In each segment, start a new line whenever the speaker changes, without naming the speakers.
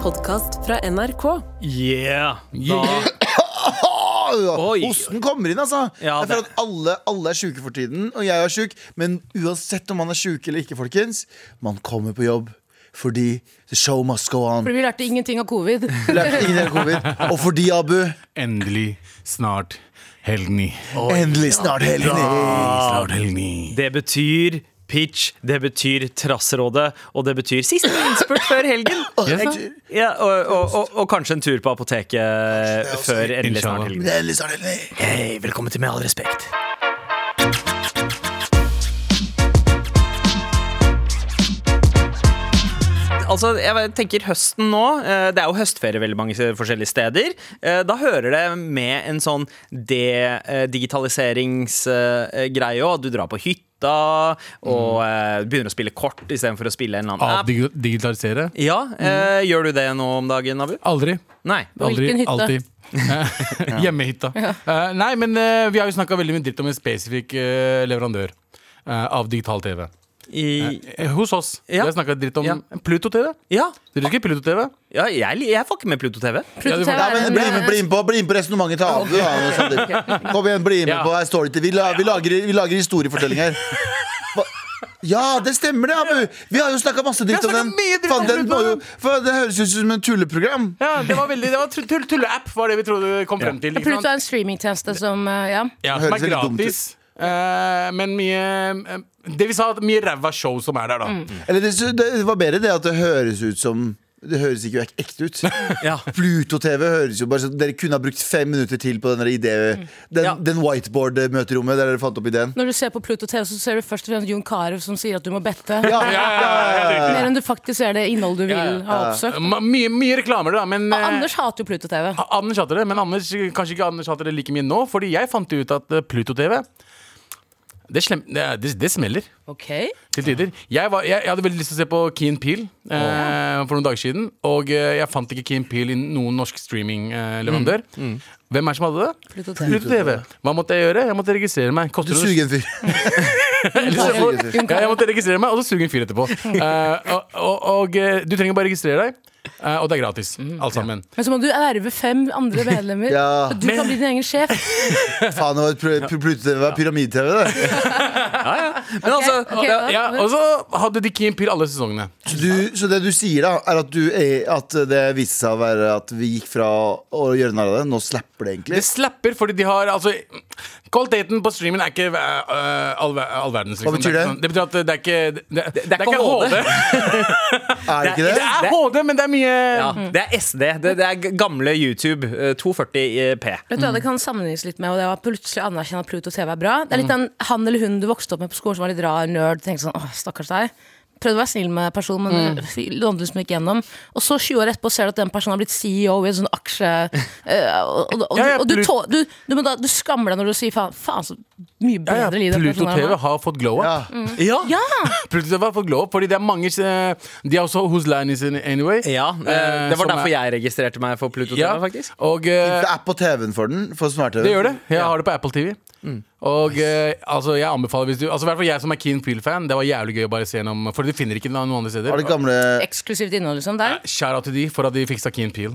podkast fra NRK.
Yeah! Da,
Yeah.
Oi.
Hosten kommer inn, altså.
Ja,
jeg føler
det-
at alle, alle er sjuke for tiden, og jeg er sjuk. Men uansett om man er sjuk eller ikke, folkens, man kommer på jobb fordi the show must go on.
Fordi vi lærte ingenting av covid.
Vi lærte ingenting av covid. Og fordi, Abu,
Endelig, snart, helgni.
endelig snart helgen.
Snart helgni.
det betyr pitch, det betyr Trasserådet, og det betyr siste innspurt før helgen.
Åh, jeg-
Ja, og, og, og, og kanskje en tur på apoteket
også-
før endelig snart
Inshallah.
helgen.
Men det er Endelig snart helgen.
Hei, velkommen til Med all respekt. Altså, jeg tenker høsten nå eh, Det er jo høstferie veldig mange s- forskjellige steder. Eh, Da hører det med en sånn eh, digitaliseringsgreie òg. Du drar på hytta og eh, begynner å spille kort istedenfor å spille en eller annen app.
Avdigi- Digitalisere?
Ja, eh, Gjør du det nå om dagen, Abu?
Aldri.
Nei.
Aldri,
Hvilken hytte?
alltid. Hjemmehytta. Eh, nei, men eh, vi har jo snakka veldig mye dritt om en spesifikk eh, leverandør eh, av digital TV.
I,
Eh, hos oss.
Ja.
Vi har snakka dritt om
Ja.
Pluto TV.
ja.
Dere husker Pluto TV?
ja jeg, jeg får ikke med Pluto TV.
Ja, du får-
Plutselig
Nei,
er
men
det-
bli med, bli med på, bli med på resonnementet til Abu. da, Sander. Kom igjen, bli med
Ja.
på her står det til. Vi, la, vi, lager, vi lager historiefortelling her. Hva- Ja, det stemmer det, Abu! Vi har jo snakka masse dritt om
snakket
den.
mye dritt
Faen,
om
den
Pluto.
må jo, for det høres ut som et tulleprogram.
Ja, det var veldig, det var tull- tull- tulleapp, var det vi trodde vi kom frem til. Ikke sant?
Pluto er en sånn streamingtjeneste som eh,
Ja,
Ja.
Det
som
høres
er
veldig dumt ut.
gratis. eh, men mye eh, Det vi sa, at mye ræva show som er der, da.
Eller det, det var bedre det at det høres ut som det høres ikke ek- ekte ut.
Ja.
Pluto-TV høres jo bare sånn Dere kunne ha brukt fem minutter til på den der idé,
Mm.
den,
Ja.
den whiteboard-møterommet der dere fant opp ideen.
Når du ser på Pluto TV, så ser du først og fremst Jon Carew som sier at du må bette.
Ja, ja, ja,
Mer enn du faktisk ser det innholdet du vil ha oppsøkt.
Ma- Mye, mye reklamer, da. Men,
Og
eh, Ah.
Anders hater jo Pluto TV.
A- Anders hater det, men Anders, kanskje ikke Anders hater det like mye nå. Fordi jeg fant ut at eh, Pluto TV det, slem, det, er- det, det smeller
Ok
til tider. Jeg, var, jeg, jeg hadde veldig lyst til å se på Keen Peel eh, for noen dager siden. Og eh, jeg fant ikke Keen Peel i noen norsk streamingleverandør. Eh,
Mm,
Hvem er det som hadde det?
Pluto TV.
Pluto TV. Hva måtte jeg gjøre? Jeg måtte registrere meg.
Du
Koster det-
suger en fyr.
Ellers så får-
Suger en fyr.
ja, jeg måtte registrere meg, og så suge en fyr etterpå. Eh, og, og, og eh, du trenger bare registrere deg, eh, og det er gratis.
Mm.
Alt sammen.
Men så må du erve fem andre medlemmer,
Ja.
og du kan bli din egen sjef.
Faen, det var et pr- pr- Pluto-TV, det var pyramid-TV, det.
Men altså,
Ok,
Ja,
da-
ja, og så hadde de Keen Peel alle sesongene.
Så, du, så det du sier, da, er at, du, er- at det viste seg å være at vi gikk fra å gjøre narr av det, nå slapper det egentlig.
Det slapper fordi de har altså Kvaliteten på streamen er ikke øh, all, ver- all verdens.
Hva betyr
er
det?
ikke sånn- Det betyr at det er ikke Det, det, det, er,
ikke
ikke HD.
Er det ikke
Det
det?
er HD, men det er mye
Ja, Mm. det er SD. Det, det er g- gamle YouTube. eh, 240p.
Vet du hva, Det
Mm.
kan sammenlignes litt med og det var plutselig anerkjenne at Pluto TV er bra. Det er
Mm.
litt den han eller hun du vokste opp med på skolen som var litt rar nerd. Tenkte sånn, åh, stakkars deg Prøvde å være snill med personen, men
Mm.
det lånte liksom ikke gjennom. Og så 20 år etterpå ser du at den personen har blitt CEO i en sånn aksje... eh, og, og, og,
Ja, ja,
og du,
Plut-
tå- du, du, må da, du skammer deg når du sier faen, faen så mye bedre
Ja, ja,
liv den
Pluto
personen her
TV
var.
har fått glow up.
Ja.
Ja.
Ja!
Pluto TV har fått glow up Fordi det er mange eh, De er også Who's Line Is It Anyway.
eh, Det var
som
derfor
er-
jeg registrerte meg for Pluto
ja,
TV, faktisk.
Og eh,
Det er på TV-en for den, for smart-TV.
Det gjør det. Jeg har det på Apple TV.
Mm.
Og eh, altså, jeg anbefaler hvis du Altså, i hvert fall jeg som er Keen Peel-fan. Det var jævlig gøy å bare se gjennom, for du finner ikke den noen andre
Har
steder.
det gamle
Eh,
Eksklusivt innhold, liksom. Der.
Shout out til de for at de fiksa Keen Peel.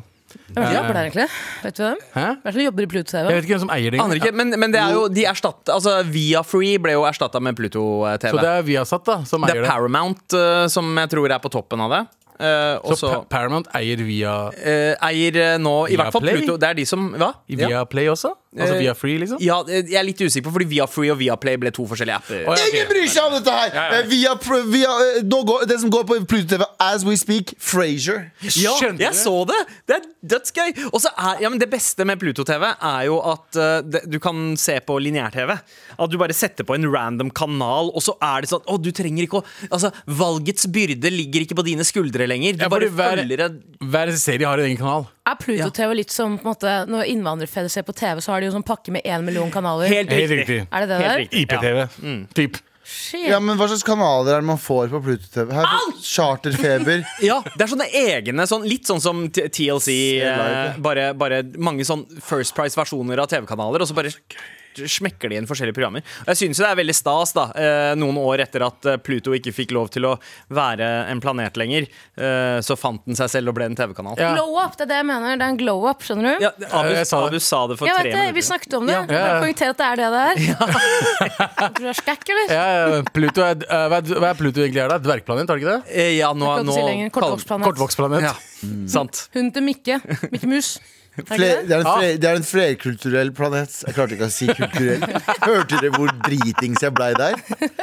Hvem er det som jobber der, egentlig? Vet du hvem?
Hæ?
Hvem er det som jobber i Pluto TV?
Jeg vet ikke hvem som eier det. engang.
Aner ikke, men, men det er jo de erstatt, altså, Viafree ble jo erstatta med Pluto eh,
Så
TV.
det er Viasat da, som
Det er
eier det.
Paramount eh, som jeg tror er på toppen av det. Eh, og
Så
så
Pa- Paramount eier via,
eh, eier eh, nå i hvert fall
Viaplay?
Pluto Det er de som Hva?
via
Ja.
Play også? Altså
Eh,
via Free, liksom?
Ja, eh, jeg er litt usikker på, fordi Viafree og Viaplay ble to forskjellige apper.
Å, ja, ok.
Ingen bryr seg om dette her!
ja.
Eh, Via, pr- via, eh, nå går, det som går på Pluto-TV as we speak, Frasier.
Ja,
Skjønte
jeg
du?
så det! Det er dødsgøy! Og så er, ja, men det beste med Pluto-TV er jo at eh, det, du kan se på lineær-TV. At du bare setter på en random kanal, og så er det sånn Å, du trenger ikke å Altså, valgets byrde ligger ikke på dine skuldre lenger. Du
Ja,
bare
fordi hver-
følger en
Hver serie har en egen kanal.
Er Pluto TV litt som på en måte, når innvandrerfedre ser på TV, så har de jo sånn pakke med én million kanaler?
Helt
Helt
riktig. Mm.
riktig.
er det det
Helt
der?
riktig.
IPTV. Typ.
Shit.
Ja, men Hva slags kanaler er det man får på Pluto-TV? Her- Charterfeber.
Ja, det er sånne egne, sånn, litt sånn som T- TLC.
Se live,
eh,
ja.
bare, bare mange sånn First Price-versjoner av TV-kanaler, og så bare smekker de inn forskjellige programmer. Og jeg synes jo det er veldig stas, da, eh, noen år etter at eh, Pluto ikke fikk lov til å være en planet lenger, eh, så fant den seg selv og ble en TV-kanal.
Ja.
Glow up, det er det jeg mener. Det er en glow up, skjønner du?
Ja, Abu,
jeg sa det.
Abu sa det for
jeg
tre
vet det,
minutter
eh, Vi
siden.
snakket om det.
Ja.
Ja, ja. Poengter at det er det det er. Tror du det er skækk, eller?
Ja, Pluto er, eh, hva er hva er Pluto egentlig er da? Dvergplanet, er det ikke det?
Eh, Ja, nå,
Kan du
nå
si lenger?
kaller-
Kortvokstplanet.
Kortvokstplanet.
Ja, sant.
Hun til Mikke. Mikke Mus. Er ikke
Fle-
det?
det, er en fle, det er en flerkulturell planet. Jeg klarte ikke å si kulturell. Hørte dere hvor dritings jeg blei der?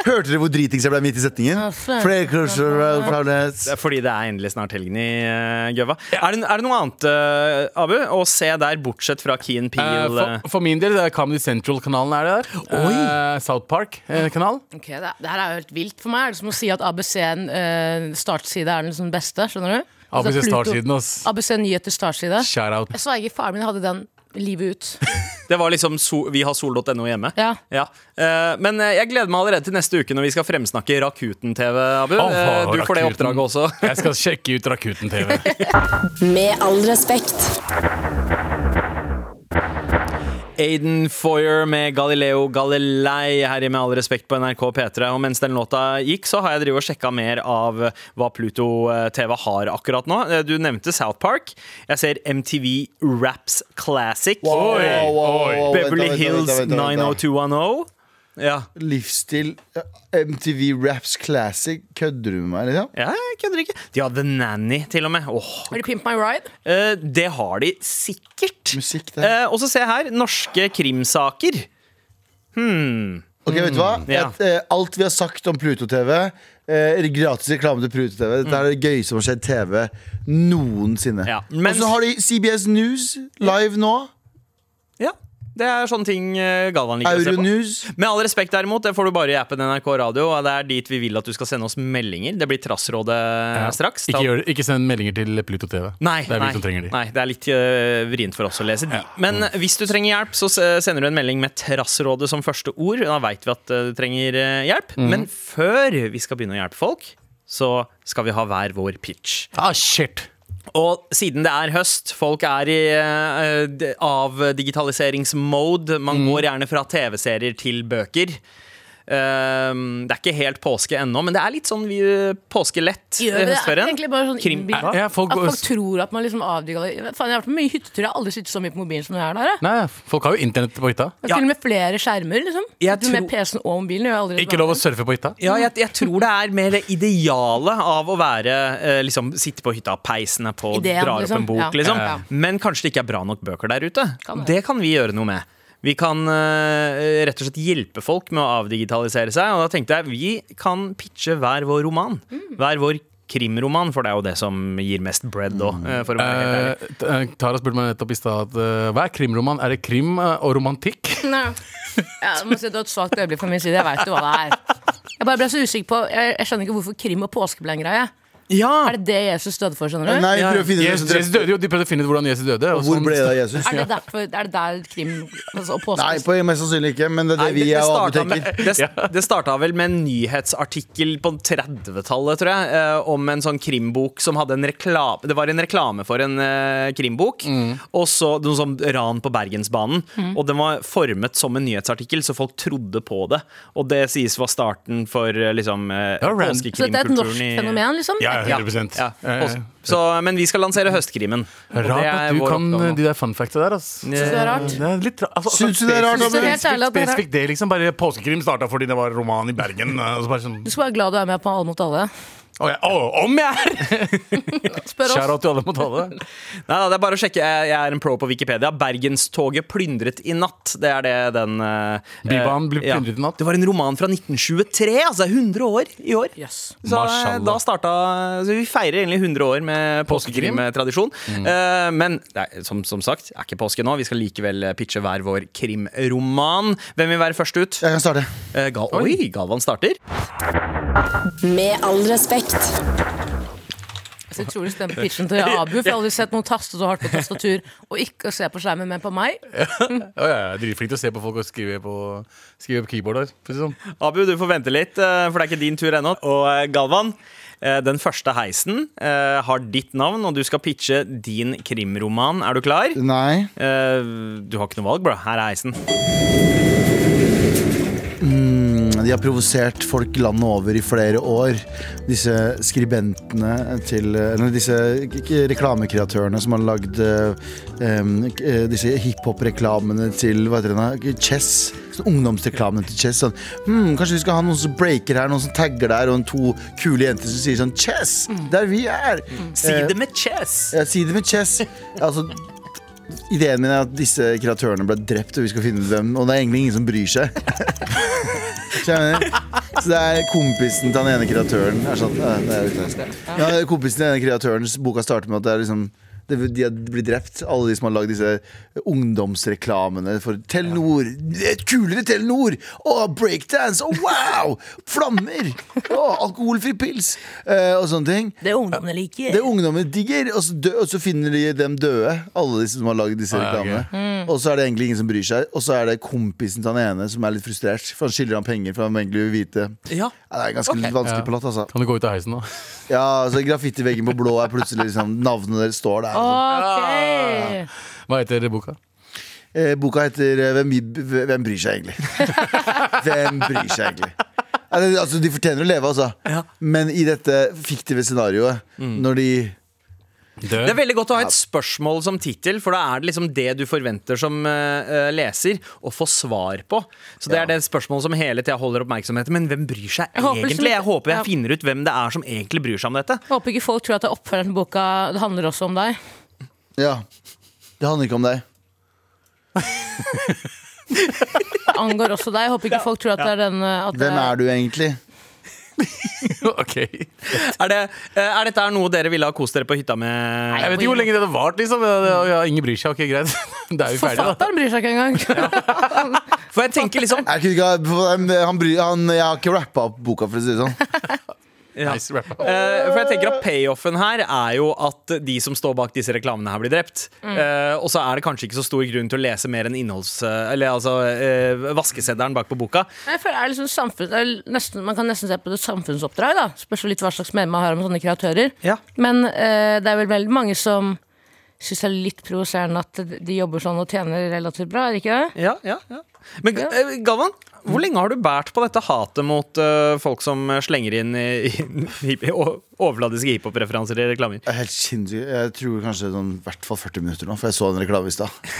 Hørte dere hvor dritings jeg blei midt i setningen? Flerkulturell planet.
Det er fordi det er endelig snart helgen i eh, Gøva. Er, det, er det noe annet, eh, Abu, å se der, bortsett fra Keen
Eh,
Peel? eh,
for, for min del, det er Comedy Central-kanalen er det der. Eh, South Park-kanal.
Ok, det, det her er jo helt vilt for meg. Det er som å si at ABC-en eh, startside er den liksom beste, skjønner du? Altså,
ABC
Pluto-
Startsiden, ass.
ABC Nyheter startside.
Shout out.
Jeg sverger, faren min hadde den livet ut.
Det var liksom so, Vi har sol.no hjemme.
Ja.
Eh, men eh, jeg gleder meg allerede til neste uke når vi skal fremsnakke Rakuten-TV, Abu.
Åh,
Eh, du får det
Rakuten.
oppdraget også.
Jeg skal sjekke ut Rakuten-TV.
Med all respekt.
Aiden Foyer med Galileo Galilei her i Med all respekt på NRK P3. Og mens den låta gikk, så har jeg drivet og sjekka mer av hva Pluto eh, TV har akkurat nå. Eh, Du nevnte South Park. Jeg ser MTV Raps Classic.
Oi, oi.
vent da,
Beverly
vent da, vent da,
Hills
vent da, vent da.
90210. Ja,
Livsstil. MTV Raps Classic. Kødder du med meg, liksom?
ja jeg kødder ikke. De har The Nanny, til og med. Åh,
Har du Pimp My Ride?
eh, det har de sikkert.
Musikk der.
Eh, og så se her. Norske krimsaker.
Ok, vet du hva?
ja.
Et, eh, alt vi har sagt om Pluto-TV eh, Gratis reklame til Pluto-TV Dette er det gøyeste som har skjedd TV noensinne
Ja, men-
Og så har de CBS News live nå
Ja, det er sånne ting eh, Galvan liker å se på.
Euronews
Med all respekt derimot, det får du bare i appen NRK Radio. Og det er dit vi vil at du skal sende oss meldinger. Det blir Trassrådet straks.
Ikke, gjør, ikke send meldinger til Pluto TV.
Nei,
det er vi
nei,
som trenger de.
nei, det er litt øh, vrient for oss å lese de. Men hvis du trenger hjelp, så s- sender du en melding med Trassrådet som første ord. Da veit vi at øh, du trenger øh, hjelp. Men før vi skal begynne å hjelpe folk, så skal vi ha hver vår pitch.
Ah, shit!
Og siden det er høst, folk er i eh, d- avdigitaliseringsmode. Man går gjerne fra TV-serier til bøker. Ehm, det er ikke helt påske ennå, men det er litt sånn vi, påskelett i
Gjør vi det? Er
høstferien.
egentlig bare sånn
Eh, Krim-
innbilt.
Ja, folk,
At folk tror at man liksom avdigger Faen, jeg har vært på mye hyttetur, jeg har aldri sittet så mye på mobilen som jeg er der. Jeg.
nei, folk har jo internett på hytta.
Jeg
Ja.
har Til og med flere skjermer, liksom.
Jeg
Sitter Med
tror-
PC-en og mobilen. gjør jeg aldri
Ikke lov å surfe på hytta.
Ja, jeg, jeg tror det er mer det idealet av å være eh, liksom, sitte på hytta, peisende på,
Ideen,
drar opp
liksom.
en bok,
Ja.
liksom.
Ja.
Men kanskje det ikke er bra nok bøker der ute.
Kan være.
det kan vi gjøre noe med. Vi kan eh, rett og slett hjelpe folk med å avdigitalisere seg. Og da tenkte jeg vi kan pitche hver vår roman.
Mm.
Hver vår krimroman, for det er jo det som gir mest bread òg. for å være helt ærlig.
Eh, t- eh, Tara spurte meg nettopp i stad at, eh, hva er krimroman. Er det krim eh, og romantikk?
Nei. Ja, jeg må si at det var et svakt øyeblikk fra min side. Jeg veit jo hva det er. Jeg bare ble så usikker på Jeg, jeg skjønner ikke hvorfor krim og påske ble en greie.
Ja!
Er det det Jesus døde for, skjønner du?
Nei, vi prøver å finne
Jesus, Jesus døde jo, De prøvde å finne ut hvordan Jesus døde. og
Hvor
sånn-
ble det av Jesus?
Er det, derfor, er det der krim altså, og påske
Nei, på, mest sannsynlig ikke Men det er det vi er og
starta
Abu tenker
med- det, det starta vel med en nyhetsartikkel på 30-tallet, tror jeg, eh, om en sånn krimbok som hadde en reklame Det var en reklame for en eh, krimbok,
Mm.
og så noe sånn ran på Bergensbanen. Og den var formet som en nyhetsartikkel, så folk trodde på det. Og det sies var starten for eh, liksom eh,
Ja, ran-
Så dette er et norsk
påskekrimkulturen i
fenomen, liksom?
Ja,
Ja,
100
ja.
Eh,
påske- Så, men vi skal lansere høstkrimen. Og
Rart
det er
at du
vår
kan
oppgave nå.
eh, de der fun factsa der. ass
Ja. Synes
du det er rart?
Det er litt ra- altså,
Synes du det er rart,
spesifikt-
Abu?
Synes du helt ærlig at det er
Spesifikt det, liksom. Bare Påskekrim starta fordi det var roman i Bergen. eh, Og så bare sånn,
Du skal være glad du er med på Alle mot alle.
å, jeg, å, om jeg er!
Spør oss.
Shout-out til alle mot alle.
Nei, da, det er bare å sjekke. Jeg, jeg er en pro på Wikipedia. 'Bergenstoget plyndret i natt'. Det er det den eh,
Bybanen ble
eh, ja.
plyndret i natt.
Det var en roman fra 1923. Altså det er 100 år i år.
Yes.
Så eh,
Mashallah.
da starta Så vi feirer egentlig 100 år med
Påskekrim. Mm.
påskekrimtradisjon. Eh, men det er, som, som sagt, det er ikke påske nå. Vi skal likevel pitche hver vår krimroman. Hvem vil være først ut?
Jeg kan starte
Eh, Gal Oi, Galvan starter.
Med all respekt.
Jeg er så utrolig spent på pitchen til Abu, for jeg har aldri sett noen taste så hardt på tastatur og ikke se på skjermen, men på meg.
Å, ja, jeg er dritflink til å se på folk og skrive på, skrive på keyboard. her, for å si det sånn.
Abu, du får vente litt, eh, for det er ikke din tur ennå. Og eh, Galvan, eh, den første heisen eh, har ditt navn, og du skal pitche din krimroman. Er du klar?
Nei
Eh, Du har ikke noe valg, bro. Her er heisen.
de har provosert folk landet over i flere år. Disse skribentene til Eller disse k- k- reklamekreatørene som har lagd eh, em, k- eh, disse hiphop-reklamene til hva heter det, nå? Chess. Sånn Ungdomsreklamene til Chess. Sånn, hmm, kanskje vi skal ha noen som breaker her, noen som tagger der, og en to kule jenter som sier sånn Chess! Der vi er!
Si det med chess!
Jeg sier det med Chess. Altså, ideen min er at disse kreatørene ble drept, og vi skal finne ut hvem. Og det er egentlig ingen som bryr seg. Skjønner du? Så det er kompisen til han ene kreatøren er sånn, eh, det er utenlandsk. ja, det er Kompisen til den ene kreatørens boka starter med at det er liksom det, de har blitt drept, alle de som har lagd disse ungdomsreklamene for Telenor. Et kulere Telenor! Å, breakdance! Å, wow! Flammer! Å, alkoholfri pils! Eh, og sånne ting.
Det ungdommene liker.
Det ungdommen digger, og så, dø, og så finner de dem døde. Alle de som har laget disse
Ah, ja,
reklamene.
Mm.
Og så er det egentlig ingen som bryr seg. Og så er det kompisen til han ene som er litt frustrert, for han skylder han penger. For han egentlig vil vite
Ja.
ja, Det er ganske litt vanskelig
Ja.
på lott, altså.
Kan du gå ut av heisen, da?
Ja, altså Graffitiveggen på blå er plutselig liksom Navnet deres står der.
Ah.
og sånn.
Ok.
Hva heter boka?
Eh, boka heter eh, Hvem, hvem bryr seg egentlig? Hvem bryr seg egentlig? Ja, det- Altså, de fortjener å leve, altså.
Ja.
Men i dette fiktive scenarioet,
Mm.
når de
Det er veldig godt å ha et spørsmål som tittel, for da er det liksom det du forventer som eh, eh, leser, å få svar på. Så det er det spørsmålet som hele tida holder oppmerksomheten. Men hvem bryr seg
Jeg håper liksom
egentlig? Jeg
ikke-
håper
ja.
jeg finner ut hvem det er som egentlig bryr seg om dette.
Håper ikke folk tror at det er oppfølgeren til boka Det handler også om deg.
Ja, det handler ikke om deg.
Det angår også deg. Håper ikke folk tror at det er den eh, at det-
Hvem er du egentlig?
ok Jeg
Er, det, eh, er dette her noe dere ville ha kost dere på hytta med?
vet ikke hvor lenge det hadde vart, liksom. Ja, det- ja, ingen bryr seg. Ok, greit. Da er vi ferdige, da.
Forfatteren bryr seg ikke engang.
For jeg tenker liksom
Jeg, kunne ikke, ha- han bryr, han, jeg har ikke rappa opp boka, for å si det sånn.
ja.
Nice wrap up.
Eh, For jeg tenker at payoffen her er jo at de som står bak disse reklamene her blir drept.
Mm.
Eh, og så er det kanskje ikke så stor grunn til å lese mer enn innholds... Eller altså eh, vaskeseddelen bak på boka.
Jeg føler det er liksom samfunns, det er nesten, Man kan nesten se på det som samfunnsoppdrag. da Spørs jo litt hva slags mening man har om sånne kreatører.
Ja.
Men eh, det er vel veldig mange som syns det er litt provoserende at de jobber sånn og tjener relativt bra. er det ikke det?
Ja, ja, ja. Men eh, Galvan, hvor lenge har du bært på dette hatet mot eh, folk som slenger inn i, i, i o- overfladiske hiphop-referanser i reklamer?
Jeg er Helt sinnssykt. Jeg tror kanskje sånn, i hvert fall 40 minutter nå, for jeg så en reklame i stad.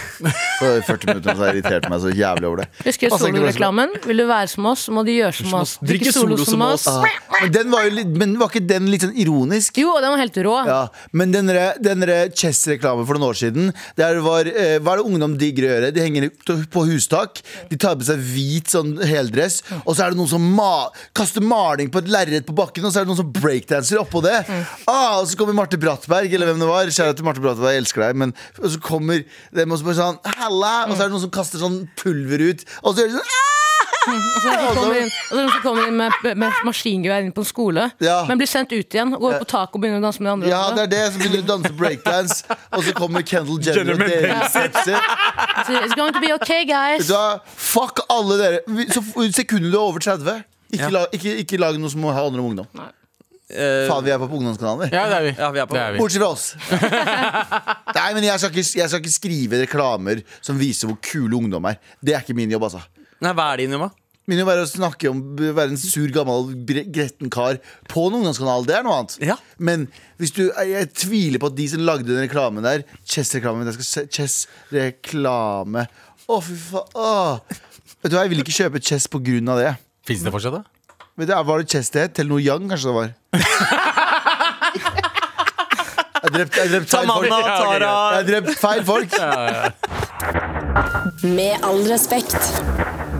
Så i 40 minutter så har jeg irritert meg så jævlig over det. Altså, ikke
Husker du
bare så-
soloreklamen? Vil du være som oss, må du gjøre som oss. Drikke solo som oss.
Ah, Men, den var jo litt, men var ikke den litt sånn ironisk?
Jo, og den var helt rå.
Ja, men den der- den der Chess-reklamen for noen år siden Der var, eh, Hva er det ungdom digger å gjøre? De henger ut på hustak De tar på seg hvit sånn heldress Og så er det noen som ma kaster maling på et lærret på bakken Og så er det noen som breakdanser oppå det ah, Og så kommer Marte Brattberg, eller hvem det var Kjære til Marte Brattberg, jeg elsker deg men, Og så kommer dem og så bare sånn Halla! Og så er det noen som kaster sånn pulver ut Og så gjør de sånn «Ah!»
Og så er det noen som kommer inn, og så er det noen som kommer inn med, med maskingevær inn på en skole,
Ja.
men blir sendt ut igjen. Og går på taket og begynner å danse med de andre.
Ja,
også.
det er det, så begynner de å danse breakdance Og så kommer Kendall Jenner
Jenner
og
med
deler ut pepsi.
It's going to be okay, guys.
Vet du hva? Fuck alle dere. Vi- Så f- Sekundet du er over 30, ikke,
Ja.
la, ikke, ikke lag noe som handler om ungdom.
Eh,
Faen, vi er på ungdomskanalen, vi.
Ja, det er vi.
Ja, vi er på-
Det er vi.
Bortsett fra oss. Nei, men jeg skal, ikke, jeg skal ikke skrive reklamer som viser hvor kule ungdom er. Det er ikke min jobb, altså.
nei, hva er din jobb, da?
Min jobb er å snakke om å være en sur, gammel, gre- gretten kar på en ungdomskanal. Det er noe annet.
Ja.
Men hvis du, jeg, jeg tviler på at de som lagde den reklamen der Chess-reklamen jeg skal se- Chess-reklame. Å, fy faen. Vet du hva, jeg vil ikke kjøpe Chess på grunn av det.
Fins det fortsatt, da?
Men det, var det Chess det het? Telenor Young, kanskje det var? Jeg drept, jeg drept feil folk.
Tamanna,
Ja, ok,
Tara
Jeg har drept feil folk.
Med all respekt.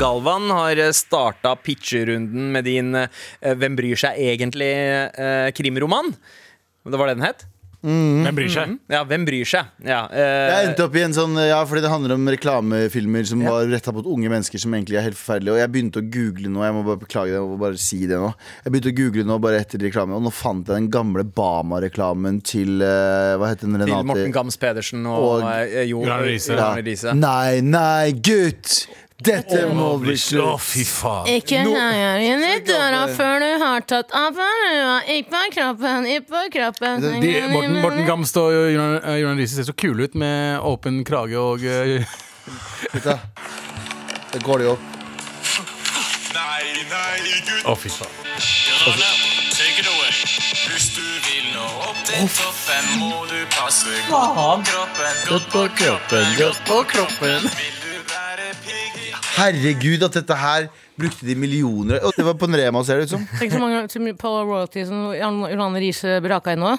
Galvan har starta pitcherunden med din eh, Hvem bryr seg egentlig-krimroman. det var det den het?
Mm. Hvem bryr
Mm.
seg?
Ja, Hvem bryr seg? Ja,
Jeg
eh,
endte opp i en sånn, ja, fordi det handler om reklamefilmer som var retta mot unge mennesker som egentlig er helt forferdelige. Og jeg begynte å google nå, jeg må bare beklage det, jeg må bare si det nå. Jeg begynte å google nå bare etter reklame, og nå fant jeg den gamle Bama-reklamen til eh, Hva heter den? Renate?
Til Morten Gams Pedersen og,
Og-
eh, Jo
Gran Riise.
Gran
Ja.
Riise.
Nei, nei, gutt! Dette må bli
Å,
slutt.
fy faen.
Ikke her inn i døra før du har tatt av røda. I på kroppen, i på kroppen.
De, Morten, Morten Gamst og Jonan Riise ser så kule ut med åpen krage og eh,
Gutta. Det går det jo opp.
Nei,
Å, fy faen.
Hvis du vil nå opp til toppen, må du passe godt på kroppen. Godt på kroppen, godt på kroppen. Vil du være pigg?
Herregud, at dette her brukte de millioner Og det var på en Rema, ser det ut som.
Tenk så mange så mye på royalty som Johanne Riise braka inn nå.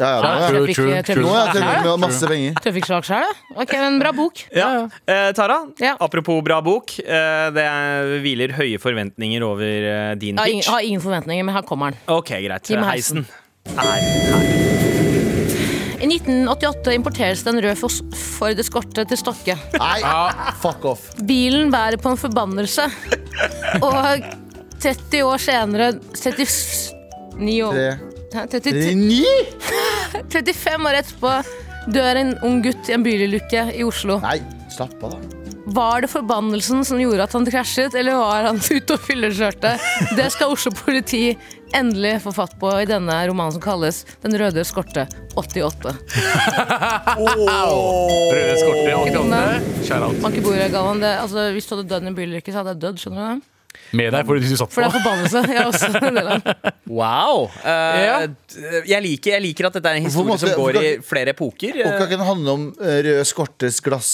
Ja, ja, det var,
True,
det.
Jeg fikk,
true,
eh,
true.
Nå har jeg
Hæ?
tømt med masse penger.
Tøffiksjaks her, da. Ok, en bra bok.
Ja. Eh, Tara,
Ja.
apropos bra bok. Eh, det er- hviler høye forventninger over eh, din
Jeg har ingen,
pitch.
har ingen forventninger, men her kommer den.
Ok, greit.
Gi meg
Heisen.
heisen.
Nei.
I 1988 importeres det en rød Fos- Ford Eskorte til Stokke.
Nei, fuck off.
Bilen bærer på en forbannelse. Og 30 år senere 39 år
Tre,
Hæ, 33
tre, ni?
35 år etterpå dør en ung gutt i en bilulykke i Oslo.
Nei, slapp av, da.
Var det forbannelsen som gjorde at han krasjet, eller var han ute og fyllekjørte? Det skal Oslo politi endelig få fatt på i denne romanen som kalles Den røde eskorte 88.
Røde skorter, åttiåtte. Shout out.
Bank i bordet, Galvan. Det, altså, hvis du hadde dødd i en bilulykke, så hadde jeg dødd. skjønner du det?
Med deg fordi du satt
For
på.
det er forbannelse. Jeg er også en del av det.
Wow. Eh,
Ja.
d- jeg, liker, jeg liker at dette er en
Hvorfor
historie
måtte-
som går i
hvorfor-
flere epoker.
Og kan
Eh,
ikke den handle om eh, rød skortes glass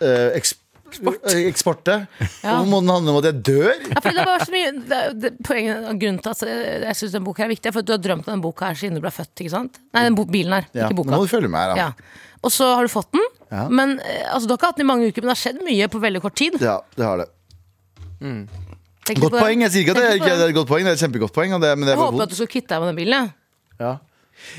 eh, eks- eh, eksporte? Hvorfor må den handle om at jeg dør?
Ja, fordi det var så mye det, det, poenget, Grunnen til at jeg, jeg syns den boka er viktig, er for at du har drømt om den boka her siden du ble født. ikke sant? Nei, den bo, bilen her,
Ja,
ikke
nå
boka.
må du følge med her, da.
Ja. Og så har du fått den.
Ja.
Men eh, altså, Du har ikke hatt den i mange uker, men det har skjedd mye på veldig kort tid.
Ja, det har det.
Tenk litt
Godt
på det.
poeng. Jeg sier ikke at det er,
Tenk litt på
ikke det er et godt poeng, det er et kjempegodt poeng. Og det, men det
Jeg
er bare
håper at
vondt.
du skal kvitte deg med den bilen. jeg.
Ja.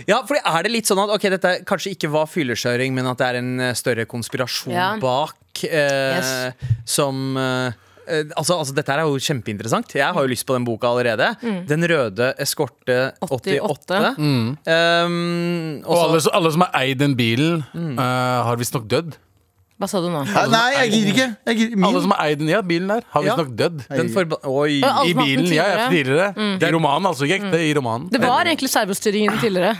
ja, fordi er det litt sånn at Ok, dette kanskje ikke var fyllekjøring, men at det er en eh, større konspirasjon
Ja.
bak eh, som eh, eh, Altså, altså, Dette her er jo kjempeinteressant. Jeg har jo lyst på den boka allerede.
Mm.
Den røde eskorte 88.
88.
Um,
Og
også-
alle, som- alle som har eid den bilen,
Mm.
eh, har visstnok dødd.
Hva sa du nå?
Nei, Nei, jeg gidder ikke. Jeg gidder,
Alle
min.
som har eid den, ja, bilen der, har
Ja.
visstnok dødd.
den forba... Oi.
I
Og alle som har hatt den
bilen, ja, ja,
tidligere.
tidligere. I romanen, altså. Ikke ekte, i romanen.
Mm. Det var egentlig servostyringen tidligere.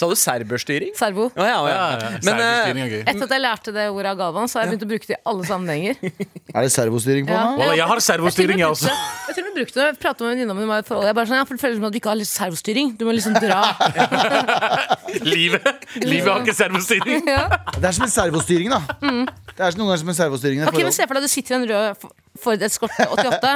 Sa du serberstyring?
Servo.
Ja, ja, ja. Men,
Serbistyring
eh,
er gøy.
Etter at jeg lærte det ordet av Galvan, så har jeg begynt å bruke det i alle sammenhenger.
Er det servostyring på
Ja.
den? da?
Wallah, jeg har servostyring, jeg
altså.
også.
Jeg tror vi brukte det. Jeg pratet med en venninne om det. var et forhold. Jeg bare sånn, ja, for det føles som at du ikke har litt servostyring. Du må liksom dra.
Livet Livet har ikke servostyring.
Ja.
Det er som en servostyring, da. Det er noen ganger som en servostyring. i
Mm. Ok, men
forhold.
Se for deg at du sitter i en rød F- Ford Escorte 88.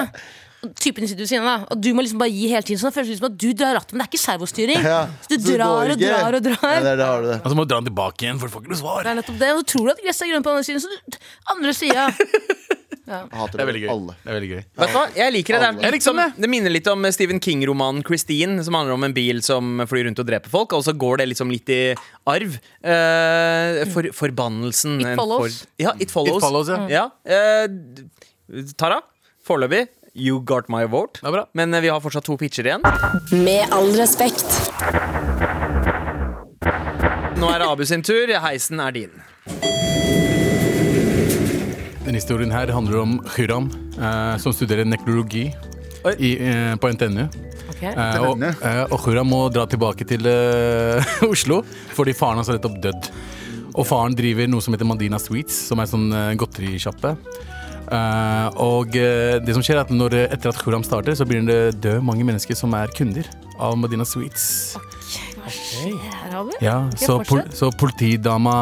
og Typen din sitter ved siden av deg, og du må liksom bare gi hele tiden. Så det føles som at du drar rattet, men det er ikke servostyring.
Ja,
Så du
så det går
drar og
ikke.
drar
Ja,
og drar.
der, der har du det.
Og så må du dra den tilbake igjen, for du får ikke noe svar.
Det er nettopp det. Og så tror du at gresset er grønt på den andre siden, så du andre sida.
Jeg hater
Det er veldig gøy.
Alle.
Det er veldig gøy.
Vet du hva? Jeg liker det. Det,
Jeg
er
liker
litt som,
det.
det minner litt om Stephen King-romanen 'Christine', som handler om en bil som flyr rundt og dreper folk. Og så går det liksom litt i arv. Eh, for, forbannelsen.
It
en
follows.
Ford- ja, It Follows.
It follows, ja.
Ja, eh, d- Tara, foreløpig, you got my vote.
Det er bra.
Men eh, vi har fortsatt to pitcher igjen.
Med all respekt.
Nå er det Abu sin tur. Heisen er din.
Denne historien her handler om Hyram, eh, som studerer nekrologi
Oi.
i, eh, på NTNU.
Ok.
Eh, og, eh, og Hyram må dra tilbake til eh, Oslo fordi faren hans er nettopp dødd. Og faren driver noe som heter Mandina Sweets, som er en sånn eh, godterisjappe. Eh, og eh, det som skjer er at når, etter at Hyram starter, så begynner det dø mange mennesker som er kunder av Mandina Sweets.
Her har vi.
Ja,
Ok,
så, pol
fortsett.
så politidama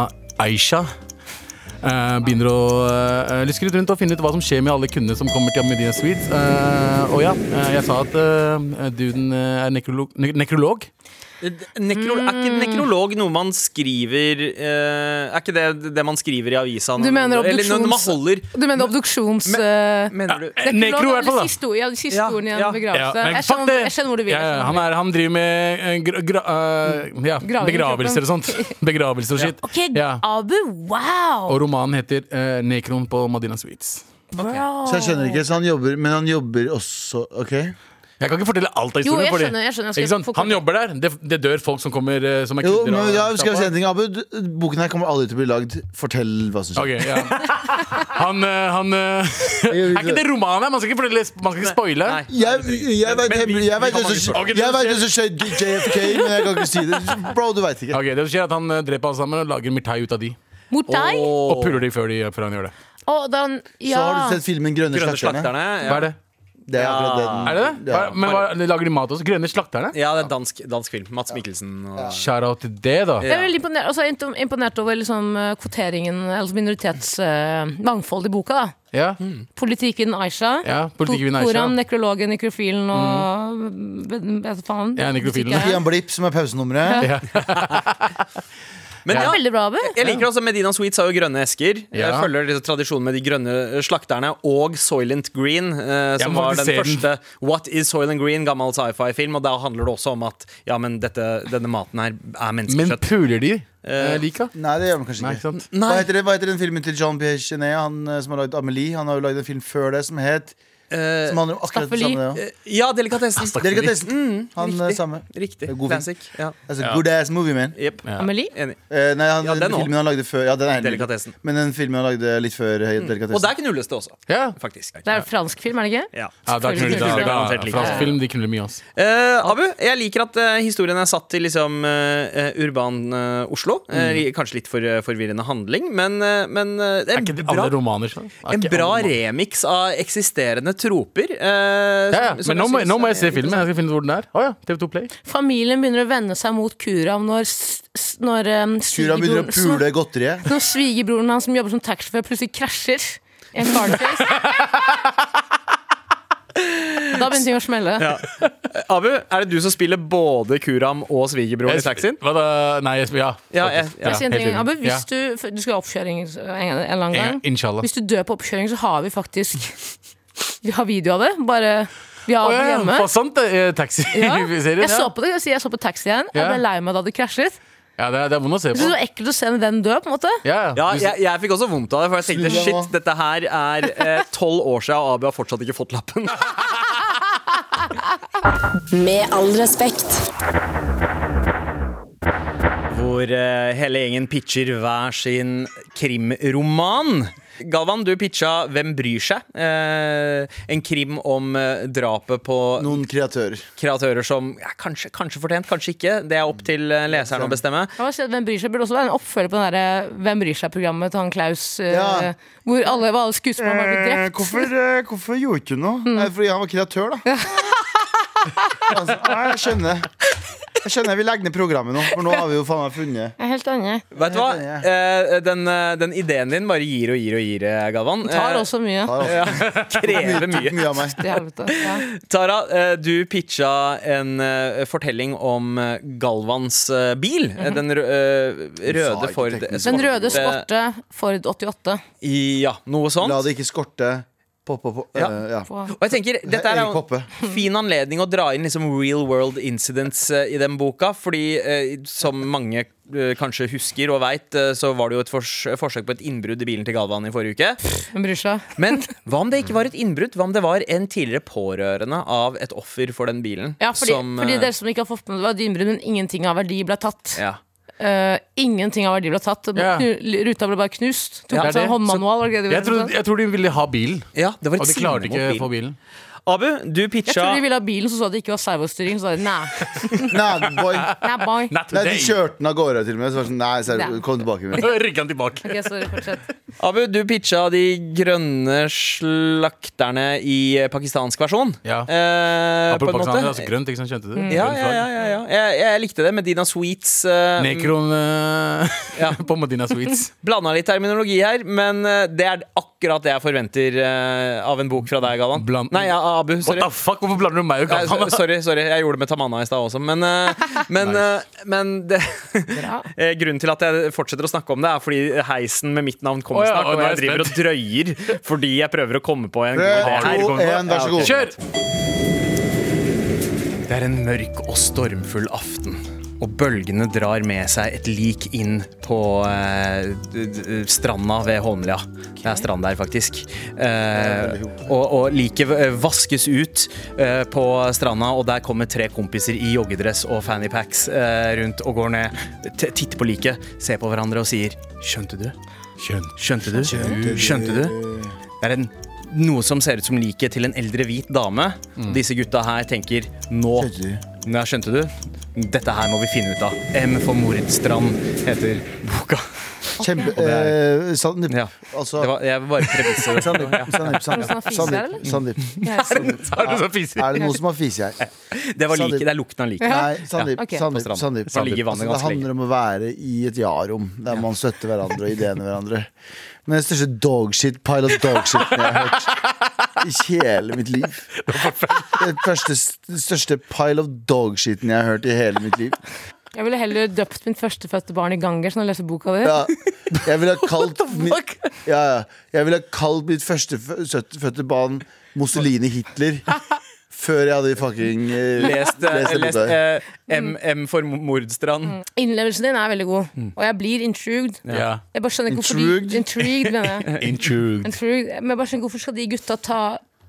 Aisha eh, begynner å eh, luske litt rundt og finne ut hva som skjer med alle kundene som kommer til Medina Suites. Eh, og ja, eh, jeg sa at eh, duden eh, er nekrolog. ne- nekrolog.
Nekrol Eh, Er
Mm.
ikke nekrolog noe man skriver eh, Er ikke det det man skriver i avisa?
Du mener
Eller når man
obduksjons-
holder
Du mener obduksjons... eh,
Mener du?
Eh, Nekro, i hvert fall. da.
Siste ord, ja, de siste
Ja,
ordene i en
ja.
Ja,
begravelse.
men
jeg,
fuck
skjønner,
det.
jeg skjønner hvor du vil.
Ja,
jeg
ja, han, er,
skjønner hvor du vil.
han driver med eh, gra, gra, eh, ja,
Graving i
begravelser og
kroppen.
sånt. Begravelser og shit.
Ok,
Ja.
Abu, wow!
Og romanen heter eh, 'Nekron på Madina Suites'.
Bro.
Så jeg skjønner ikke, så han jobber, men han jobber også Ok?
Jeg kan ikke fortelle alt av
Jo,
historien.
jeg
fordi-
skjønner, jeg skjønner, jeg skal
ikke sant?
få-
Han jobber der. Det, det dør folk som kommer eh, som er
Jo,
kunder.
men
av
ja, skal vi
sjappa.
si en ting, Abu? D- Boken her kommer aldri til å bli lagd. Fortell hva som skjer.
Ok, ja Han, eh, han eh,
gjør
Er
ikke
ikke det romanen? her? Man skal ikke, fortelle, man skal ikke spoile.
Nei.
Jeg, jeg veit
Men vi- vi har
det som
mange
skj-
spørsmål.
jeg vet det som skjer i JFK, men jeg kan ikke si det. Bro, du veit ikke.
Ok, Det som skjer er at Han eh, dreper alle sammen og lager mirtai ut av de.
Mot deg?
Og puler de før de, før han gjør det.
Å, da,
Så
ja.
har du sett filmen Grønne,
Grønne
slakterne?
slakterne. Ja.
Hva er det?
Det er akkurat det den-
Er det det?
Ja.
Hva- Men hva, lager de mat også? Grønne slakterne?
Ja, det er dansk, dansk film. Mats Mikkelsen. Og...
Shout-out til det, da.
Jeg er veldig imponert, altså, imp- imponert over liksom, eh, kvoteringen, altså minoritets eh, mangfold i boka. da
Ja,
Hmm. Politikken Aisha.
ja Politikken Aisha.
Koran, nekrologen, nekrofilen og mm. faen.
Ja, nekrofilen.
Musikk, ja.
Stian Blipp, som er pausenummeret.
Men
Det
ja,
er veldig bra, Abu.
jeg liker også Medina Sweets har jo grønne esker. Jeg
Ja.
følger liksom tradisjonen med de grønne eh, slakterne og Soylent Green, eh, som
må
var den
faktisk se
første What is Soylent Green? gammel sci-fi-film. Og da handler det også om at ja, men dette, denne maten her er
Men
menneskekjøtt.
puler de eh, lika?
Nei, det gjør man kanskje
Nei,
ikke.
ikke sant?
Hva
Nei,
heter, det, hva heter den filmen til John Pierre Chenet, han eh, som har lagd Amelie? Han har jo lagd en film før det som het
eh,
Som handler om akkurat det
Staffeli.
samme. det også.
ja, delikatessen.
Delikatessen. Han eh,
Mm, riktig.
samme.
Riktig.
God film.
Classic. Ja.
Altså, Good ass movie, man.
Jep.
Amelie?
Enig.
Eh, nei, han,
Ja, den
den
også.
filmen han lagde før Ja, den er helt
Delikatessen.
Men den filmen han lagde litt før eh, Delikatessen.
Mm. Og der knulles det også,
Ja.
faktisk.
Det er en fransk film, er det ikke?
Ja.
Ja, da knuller de, da,
Garantert
da,
lika.
fransk film, de knuller mye, altså. ass.
Eh, Abu, jeg liker at eh, historien er satt til liksom eh, eh, urban eh, Oslo.
Mm.
Eh, kanskje litt for eh, forvirrende handling, men, eh, men eh, det er,
Er ikke
en
det
bra,
alle romaner sånn? Er
en
ikke
bra
alle romaner-
remix av eksisterende troper. eh,
Ja, ja.
som- som
Men nå må,
synes
nå må
er
jeg se filmen.
interessant.
Jeg skal finne ut hvor den er. Å ja, TV2 Play.
Familien begynner å vende seg mot Kuram når, s- s- når um,
Kura begynner å pule godteriet.
Når svigerbroren hans som jobber som taxisjåfør, plutselig krasjer i en carface. da begynte ting å smelle.
Abu, er det du som spiller både Kuram og svigerbroren i taxien?
Hva da? Nei, jeg, ja.
Ja, jeg-
faktisk.
ja.
Jeg sier en ting,
helt
Abu,
enig.
hvis du, for du skal ha oppkjøring en en eller annen
Ja.
gang.
En- Inshallah.
Hvis du dør på oppkjøring, så har vi faktisk Vi har video av det. Bare Vi
Å
har det
ja,
hjemme.
faen, sant det. eh,
Ja.
Taxi-serien.
Jeg så
ja.
på det, jeg, sier jeg så på taxien. Jeg
Ja.
ble lei meg da det krasjet.
ja, det er, det er vondt å se
Jeg
på.
synes det var ekkelt å se den dø. på en måte
Ja,
Ja,
Du-
jeg, jeg fikk også vondt av det, for jeg tenkte
Snu deg nå.
shit, dette her er eh, tolv år siden, og Abu har fortsatt ikke fått lappen.
Med all respekt.
Hvor eh, hele gjengen pitcher hver sin krimroman. Galvan, du pitcha 'Hvem bryr seg?', eh, en krim om eh, drapet på
Noen kreatører.
kreatører som ja, kanskje, kanskje fortjent, kanskje ikke. Det er opp til eh, leseren å bestemme.
Jeg må si at Hvem bryr seg burde også være en oppfølger på den der, eh, Hvem bryr seg-programmet til han Klaus. eh,
Ja.
Hvor alle, hvor alle skuespillerne bare blir drept.
Eh, hvorfor, gjorde ikke noe?
Mm.
Nei, fordi han var kreatør, da. altså, nei, jeg skjønner. Jeg skjønner jeg vil legge ned programmet nå, for nå har vi jo faen meg funnet
Jeg er helt enig.
Vet du hva?
Ja,
Eh, den, eh, den ideen din bare gir og gir og gir, eh, Galvan.
Tar
Eh,
også mye.
Har altså
krever mye.
mye av meg.
Til helvete. Ja.
Tara, eh, du pitcha en eh, fortelling om eh, Galvans eh, bil. Eh, Den rø eh,
sa
røde
ikke
Ford
teknisk.
Escort. Eh,
Mhm. Den røde skorte Ford 88.
Ja, noe sånt.
La det ikke skorte. Poppe på
Ja.
øh, ja.
På.
Og jeg tenker, Dette er
Erik
jo
Poppe.
en fin anledning å dra inn liksom real world incidents eh, i den boka. Fordi eh, som mange eh, kanskje husker og veit, eh, så var det jo et fors forsøk på et innbrudd i bilen til Galvan i forrige uke.
Hvem bryr seg?
Men hva om det ikke var et innbrudd? Hva om det var en tidligere pårørende av et offer for den bilen?
Ja, fordi,
som,
fordi
eh,
dere som ikke har fått med det, var dynnbrudd, men ingenting av verdi ble tatt.
ja.
Eh, ingenting av verdi ble tatt. Det ble
Ja.
knu- Ruta ble bare knust. Tok
Ja,
ja,
det er
sånn
det.
håndmanual. var det ikke det de
Jeg,
ville
tror,
tatt?
jeg tror de ville ha bilen,
ja, det var
og
et
de klarte
sinne
ikke å
mot
få
bilen.
bilen.
Abu, du
jeg tror
pitcha
de ville ha bilen, så sa de ikke var servostyring. Så sa de nei.
Nei, boy.
Nei, boy.
Nei, de kjørte den av gårde til og med. Så var det sånn, nei, seriøst, kom tilbake med det.
Rygga den tilbake.
Ok, sorry, fortsett.
Abu, du pitcha de grønne slakterne i eh, pakistansk versjon.
Ja.
Eh, på en måte. Mm.
Apropos Pakistan, det er altså grønt, ikke sant? Skjønte du?
Ja,
Grønn
ja,
flagg.
ja, ja, ja. Jeg, jeg likte det med Dina Sweets. Uh,
Nekron eh,
Ja.
på Medina Sweets.
Blanda litt terminologi her, men eh, det er akkurat det jeg forventer eh, av en bok fra deg, Galvan.
Bland-
Nei, ja, Abu.
What
Sorry.
the fuck, hvorfor blander du meg og
Nei,
Galvan?
so- sorry, sorry, jeg gjorde det med Tamanna i stad også, men, eh, men, eh, men det,
Bra.
eh, Grunnen til at jeg fortsetter å snakke om det, er fordi heisen med mitt navn kommer
Å ja,
snart,
og
og
nå er
jeg driver og drøyer fordi jeg prøver å komme på en god idé
Tre,
her.
to, en, vær så god.
Kjør!
Det er en mørk og stormfull aften, og bølgene drar med seg et lik inn på eh, d- d- stranda ved Holmlia. Det er strand der, faktisk. Eh, og og liket eh, vaskes ut eh, på stranda, og der kommer tre kompiser i joggedress og fannypacks eh, rundt og går ned. T titter på liket, ser på hverandre og sier 'skjønte du'? Skjønte du? Skjønte du? Det er en, noe som ser ut som liket til en eldre hvit dame. Disse gutta her tenker nå
Skjønte
Nei, skjønte du? Dette her må vi finne ut av. M for Moridsstrand heter boka.
Kjempe...
Og det er-
eh, Sandeep.
Ja.
Altså
Det var, jeg vil bare premisser det.
Sandeep, Sandeep,
det noen som har
Sandeep,
fise her,
Sandeep,
eller?
Sandeep.
Har du så fiser?
Er det noen som har fise her?
Det var like,
Sandeep.
det er lukten av liket.
Nei, Sandeep.
Ok.
På
Sandeep,
stranden.
Sandeep,
Så ligger
Sandeep.
vannet
Altså, det
ganske lenge.
handler om å være i et ja-rom, der man støtter hverandre og ideene hverandre. Men den største dogshit pile of dogshit jeg har hørt i hele mitt liv. Den første, den største pile of dogshiten jeg har hørt i hele mitt liv.
Jeg ville heller døpt min førstefødte barn i ganger som jeg leser boka di.
Ja, jeg ville ha kalt mitt, ja, ja. Jeg ville ha kalt mitt førstefødte barn Mussolini Hitler. Før jeg hadde fucking eh,
Lest, eh,
lest den
lest
boka.
eh, M, M for Mordstrand.
Innlevelsen din er veldig god, og jeg blir intrigued.
Mm. Ja.
Jeg bare skjønner ikke hvorfor
Intrigued?
de Intrigued, mener jeg.
Intrigued.
Intrigued. Men jeg bare skjønner ikke hvorfor skal de gutta ta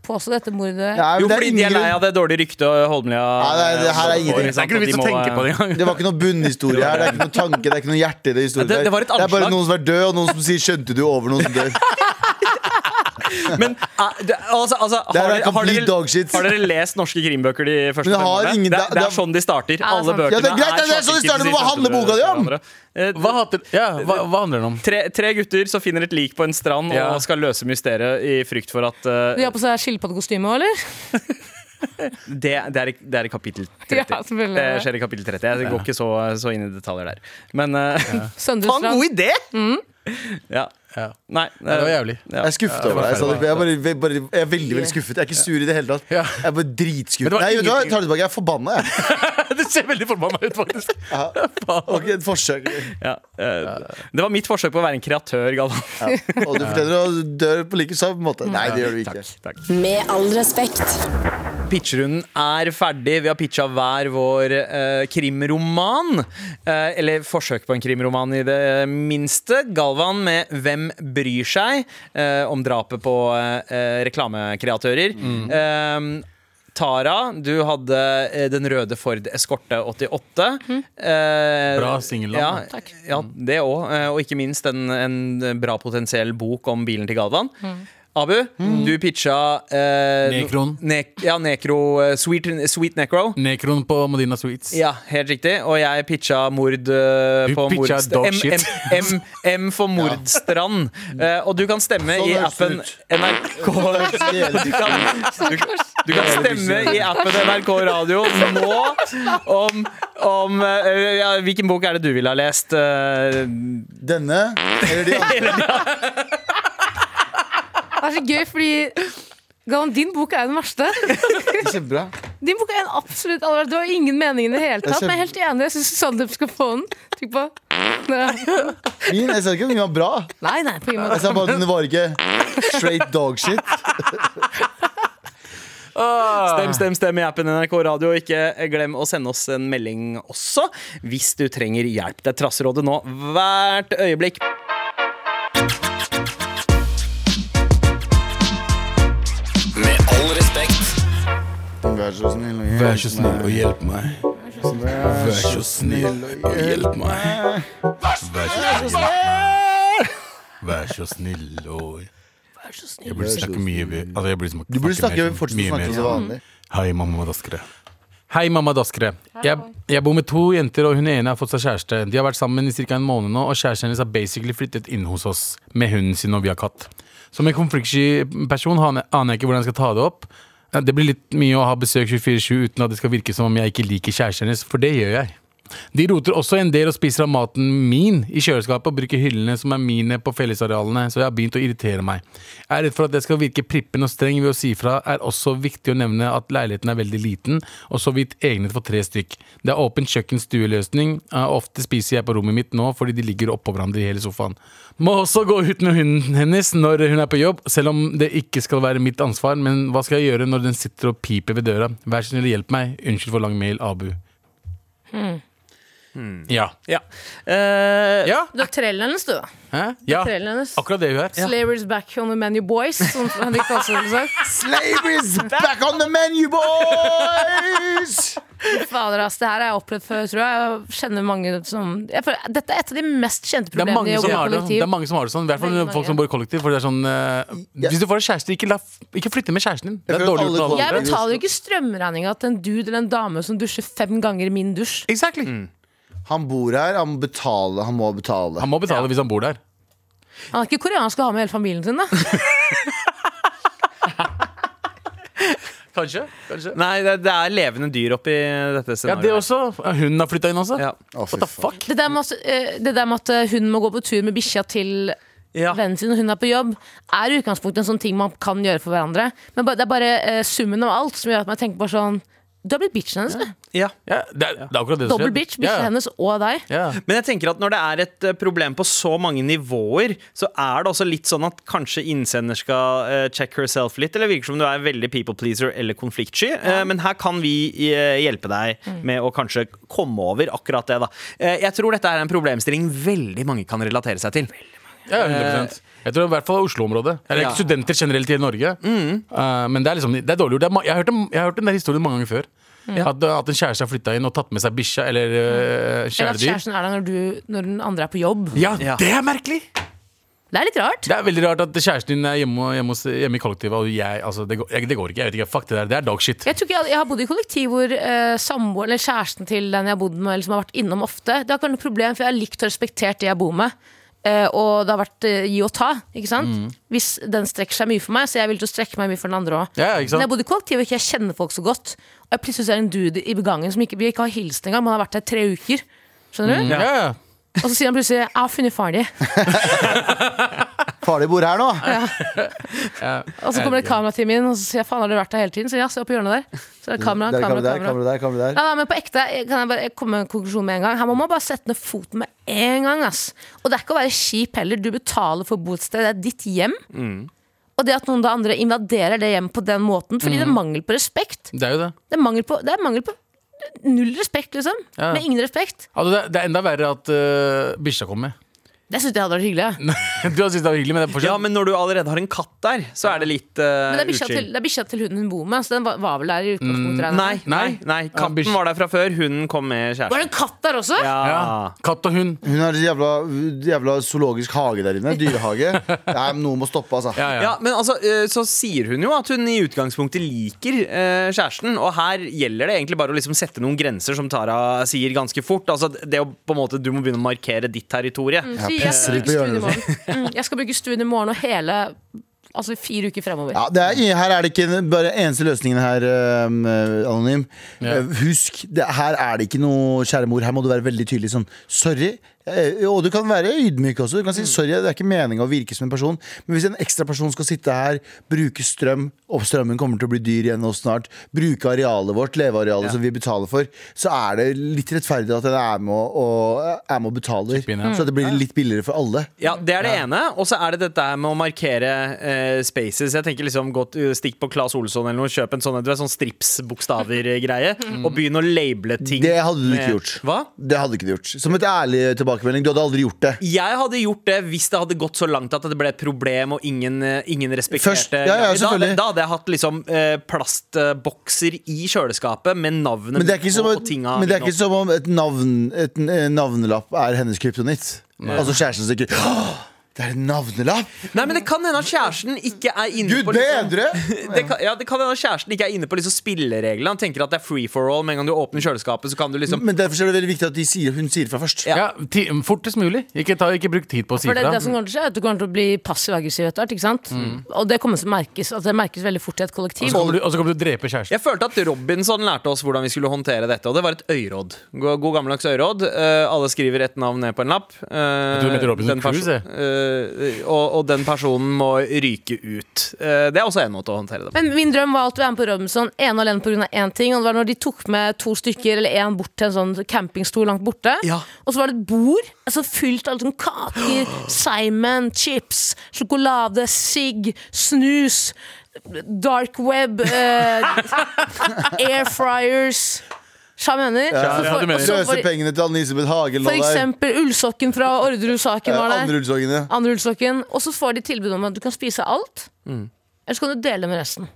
påstå dette mordet?
Nei, men
Jo,
det er
fordi de er
ingen-
lei av det dårlige ryktet og Holmlia
Nei, nei, det her er
eh,
ingenting.
får,
Det er
sant,
ikke
at
noe
de
vits å
må,
tenke på det
eh,
engang.
Det var ikke noe bunnhistorie her. Det er ikke noe tanke, det er ikke noe hjerte i det historien.
Det- det var et
er
anslag.
bare noen som er død, og noen som sier 'skjønte du' over noen som dør.
Men eh, det- altså, altså,
Det er
har, dere- har,
complete
dere,
dog shit.
har dere lest norske krimbøker de første
Men det
fem
har
årene?
ingen-
det, er- det
det
er
er-
sånn de starter.
Ja, det
Alle
er sant.
bøkene
Ja, det er greit, det er sånn de starter, men hva handler boka di om?
om?
Hva, hater- ja, hva, hva handler den om?
Tre, tre gutter som finner et lik på en strand
Ja.
og skal løse mysteriet i frykt for at
De
eh,
har på seg skilpaddekostyme òg, eller?
det, det, er, i- det er i kapittel 30.
Ja, selvfølgelig.
det skjer i kapittel 30. Jeg går ikke så, så inn i detaljer der. Men eh, faen,
Søndrestrand.
god idé!
Mm.
Ja.
Ja.
Nei, eh,
det var jævlig.
Ja.
Jeg er skuffet over deg. Sandeep. Jeg, er bare, jeg, er bare, jeg er veldig veldig skuffet. Jeg er ikke sur i det hele tatt.
Ja.
Jeg er bare
Men det
dritskuffet.
var
Nei, vet du hva, jeg
ingenting.
tar det tilbake. Jeg er forbanna, jeg.
Det ser veldig forbanna ut, faktisk.
Ok, et forsøk.
Ja, eh, det var mitt forsøk på å være en kreatør, Galvan.
Ja. Og du fortjener å dø på like samme måte. Nei, det gjør du ikke.
Takk.
Med all respekt.
Pitchrunden er ferdig. Vi har pitcha hver vår eh, krimroman. Eh, eller forsøk på en krimroman, i det minste. Galvan med 'Hvem bryr seg?' eh, om drapet på eh, reklamekreatører.
Mm.
Eh, Tara, du hadde eh, den røde Ford Eskorte 88. Eh,
Bra singelnavn,
Ja,
da.
Takk. Ja, det òg. Og ikke minst en, en bra potensiell bok om bilen til Galvan. Abu,
Mm.
du pitcha eh,
Nekron.
Nek, ja, Nekro. eh, Sweet, sweet Necro.
Nekron på Medina Sweets.
Ja, helt riktig. Og jeg pitcha mord eh,
Du
på
pitcha
mordst-
dog
M,
shit.
M, M, M for mordstrand. Eh, og du kan stemme
Sånn
i
høres det
appen
ut.
NRK
Hele
du kan, du, du kan stemme i appen NRK Radio nå om, om eh, ja, Hvilken bok er det du ville ha lest? eh,
Denne eller de andre.
Det er så gøy, fordi Galvan, din bok er jo den verste.
Det er Kjempebra.
Din bok er en absolutt alvor. Det var ingen mening i det hele
er
tatt. Men jeg er helt enig. Jeg syns Sandeep skal få den. Trykk på.
Min, jeg sa ikke at den var bra.
Nei, nei, på ingen
Jeg
måte.
sa bare at den var ikke straight dog shit.
Stem, stem, stem i appen NRK Radio. Ikke glem å sende oss en melding også hvis du trenger hjelp. Det er Trasserådet nå hvert øyeblikk.
Med all respekt.
Vær så snill og
Vær så snill og hjelp meg. Vær så snill og hjelp meg. Vær så snill og Jeg burde snakke mye Altså, jeg burde snakke,
Du burde snakke,
mer-
fortsette
mye
å snakke
mer.
som vanlig.
Hei, mamma Daskere. Hei, mamma Daskere. Jeg, jeg bor med to jenter, og hun ene har fått seg kjæreste. De har vært sammen i ca. en måned nå, og kjæresten hennes har basically flyttet inn hos oss med hunden sin, og vi har katt. Som en konfliktsky person han- aner jeg ikke hvordan jeg skal ta det opp. Det blir litt mye å ha besøk 24-7 uten at det skal virke som om jeg ikke liker kjæresten hennes, for det gjør jeg. De roter også en del og spiser av maten min i kjøleskapet og bruker hyllene som er mine på fellesarealene, så jeg har begynt å irritere meg. Jeg er redd for at jeg skal virke prippen og streng ved å si fra, er også viktig å nevne at leiligheten er veldig liten og så vidt egnet for tre stykk. Det er åpen kjøkken-stueløsning, eh, ofte spiser jeg på rommet mitt nå fordi de ligger oppå hverandre i hele sofaen. Må også gå ut med hunden hennes når hun er på jobb, selv om det ikke skal være mitt ansvar, men hva skal jeg gjøre når den sitter og piper ved døra? Vær så snill, hjelp meg. Unnskyld for lang mail, Abu. Ja.
Ja. Eh,
Ja,
Du har trellen hennes, du. da.
Hæ? ja.
Trellen hennes.
akkurat det hun er.
Slavery's back on the menu, boys. Som Henrik Dahlsen ville sagt.
Slavery is back on the menu, boys!
Fader, ass. Det her har jeg opplevd før, tror jeg. Jeg kjenner mange som jeg føler, Dette er et av de mest kjente
Det er,
problemene i
mange
å
som
gå
har det, det
kollektiv.
er mange som har det sånn. I hvert fall
Veldig mange.
folk som bor i kollektiv. For det er sånn, eh,
Ja.
Hvis du får en kjæreste, ikke, la, f- ikke flytte med kjæresten din. Det
føler
er dårlig
alle
gjort. av alle
kollektiv-
Jeg
andre.
Mm.
betaler jo ikke strømregninga til en dude eller en dame som dusjer fem ganger i min dusj.
Exactly.
Han bor her, han, betaler, han må betale.
Han må betale hvis han bor der.
Han er ikke koreansk og har med hele familien sin, da.
Kanskje. kanskje
Nei, det, det er levende dyr oppi dette
Ja, det
scenarioet.
også. Hun har flytta inn også.
Ja.
Å, fy
What the
faen.
fuck?
Det der med at, eh, det der med at eh, hun må gå på tur med bikkja til
Ja.
vennen sin når hun er på jobb, er i utgangspunktet en sånn ting man kan gjøre for hverandre. Men ba- det er bare eh, summen av alt som gjør at man tenker bare sånn Du har blitt bitchen hennes. du.
Ja.
Ja, det, er, det er akkurat det som
Dobbel
skjer.
bitch.
Ja,
Bikkja
ja.
hennes og deg.
Ja.
Men jeg tenker at når det er et eh, problem på så mange nivåer, så er det også litt sånn at kanskje innsender skal eh, check herself litt, eller virker som du er veldig people pleaser eller konfliktsky. Eh, men her kan vi eh, hjelpe deg
Mm.
med å kanskje komme over akkurat det, da. Eh, jeg tror dette er en problemstilling veldig mange kan relatere seg til.
Ja,
Eh,
100% jeg tror i hvert fall Oslo-området. Eller
Ja.
ikke studenter generelt i Norge.
Mm.
Eh, men det er liksom, det er dårlig gjort. Det er ma- Jeg har hørt, den- jeg har hørt den der historien mange ganger før. At, eh, at en kjæreste har flytta inn og tatt med seg bikkja eller uh,
Mm. Eller at
kjæledyr.
kjæresten er der når, du, når den andre er på jobb.
Ja,
Ja.
det er merkelig!
Det er litt rart.
Det er veldig rart at kjæresten din er hjemme, hjemme, hos, hjemme i kollektivet, og jeg altså, det, går, jeg, det går ikke. Jeg vet ikke, Fuck det der. Det er dogshit.
Jeg, tror ikke jeg, jeg har bodd i kollektiv hvor eh, samboeren eller kjæresten til den jeg har bodd med, eller som har vært innom ofte, det har ikke vært noe problem, for jeg har likt og respektert det jeg bor med. Eh, og det har vært eh, gi og ta. Ikke sant?
Mm.
Hvis den strekker seg mye for meg, så er jeg villig til å strekke meg mye for den andre òg.
Ja, ikke sant?
Men jeg bodde i kollektiv og ikke jeg kjenner folk så godt. Og jeg plutselig ser en dude i gangen som ikke, vi ikke har hilst engang. Man har vært her tre uker. Skjønner du?
Mm. Ja, ja.
Og så sier han plutselig 'Jeg har funnet faren din'.
Farlig bor her nå!
Og så kommer det et kamera til min, og så sier jeg 'Faen, har du vært der hele tiden?' Så ja, se opp i hjørnet der. Så er det kamera,
der,
kamera,
kamera der,
kamera.
kamera der, kamera der.
Ja, da, men på ekte, jeg- kan jeg bare jeg komme med en konklusjon med en gang? Her må man bare sette ned foten med en gang. Ass. Og det er ikke å være kjip heller. Du betaler for bosted. Det er ditt hjem.
Mm.
Og det at noen da andre invaderer det hjemmet på den måten, fordi
Mm.
det er mangel på respekt.
Det er jo det.
Det er mangel på, det er mangel på null respekt, liksom.
Ja.
Med ingen respekt.
Altså, det, er- det er enda verre at uh, bikkja kommer.
Det syns jeg hadde vært hyggelig.
du har syntes det var hyggelig, men det er fortsatt
Ja, men når du allerede har en katt der, så er det litt uh,
Men det er bikkja til, det er bikkja til hunden hun bor med, så den var, var vel der i
Mm,
utgangspunktet. regner jeg
Nei,
med.
nei, nei. Katten
bikkje.
var der fra før. Hunden kom med
Var
kjæresten.
det en katt der også?
ja. Katt og hund.
Hun har en jævla, jævla zoologisk hage der inne. Dyrehage. Nei, men Noe må stoppe, altså.
Ja, ja.
Ja, men altså, eh, så sier hun jo at hun i utgangspunktet liker eh, kjæresten, og her gjelder det egentlig bare å liksom sette noen grenser, som Tara sier ganske fort. Altså, det å på en måte, Du må begynne å markere ditt territorie.
Så jeg,
pisser
skal
litt på
bruke stuen i
hjørnet.
morgen. Mm, jeg skal bruke stuen i morgen og hele Altså fire uker fremover.
Ja, det er, her er det ikke bare eneste løsningen her, øhm, øh, Anonym.
Ja.
Eh, Husk, det, her er det ikke noe kjære mor. Her må du være veldig tydelig sånn sorry. Eh, Og du kan være ydmyk også. Du kan si sorry, det er ikke meninga å virke som en person. Men hvis en ekstra person skal sitte her, bruke strøm, og strømmen kommer til å bli dyr igjen nå snart, bruke arealet vårt, levearealet som vi betaler for, så er det litt rettferdig at en er med og, og, er med og betaler.
inn, ja.
Så det blir litt billigere for alle.
Ja, Det er det ene. Og så er det dette her med å markere eh, spaces. Jeg tenker liksom gå til- Stikk på Claes Olsson eller noe, kjøp en sånn, du vet, sånn strips-bokstaver-greie, og begynn å labele ting.
Det hadde du ikke
med-
gjort.
Hva?
Det hadde ikke du gjort. Som et ærlig tilbakemelding. Du hadde aldri gjort det.
Jeg hadde gjort det hvis det hadde gått så langt at det ble et problem og ingen, eh, ingen
Først-
respekterte
ja, ja,
da, hadde-
selvfølgelig.
da hadde jeg hatt liksom eh, plastbokser i kjøleskapet med navnet
Men det er
mitt
ikke som,
på, og
et,
tinga
men det er
utenom.
ikke som om et, navn, et n- eh, navnelapp er hennes kryptonitt. Altså kjæresten sier ikke «Åh, Det er en navnelapp!
Nei, men det kan hende at kjæresten ikke er inne
Gud
på liksom-
bedre!
det kan, ja, det kan hende at kjæresten ikke er inne på liksom spillereglene. Han tenker at det er free for all. Med en gang du åpner kjøleskapet, så kan du liksom
Men derfor er det veldig viktig at de sier, hun sier fra først.
Ja, ti, fortest mulig. Ikke, ta, ikke bruk tid på å si
For det,
fra.
det som kommer til å skje er at Du kommer til å bli passiv-aggressiv etter hvert. ikke sant? Og det kommer til å merkes at det merkes veldig fort i et
Mm. Og
kollektiv.
så kommer du- og så kommer du til å drepe kjæresten.
Jeg følte at Robinson lærte oss hvordan vi skulle håndtere dette, og det var et øyråd. God, god gammeldags øyråd. Eh, alle skriver ett navn ned på en lapp. Eh,
tror du mente Robinson
den perso-
Crusoe,
eh, og, og den personen må ryke ut. Eh, det er også en måte å håndtere det på.
Men min drøm var alltid å være med på Robinson ene og alene pga. én ting. Og det var når de tok med to stykker eller én bort til en sånn campingstol langt borte.
Ja.
Og så var det et bord altså fylt av sånn kaker, Simon, chips, sjokolade, sigg, snus, dark web, eh, air fryers Hva mener
Ja, ja, du mener.
og så
Sløse
for,
pengene til Anne-Elisabeth Hagel
for
nå der.
eksempel ullsokken fra Orderud-saken
Eh,
var der.
Andre utsagene.
andre ullsokken, og så får de tilbud om at du kan spise alt,
Mm.
eller så kan du dele med resten.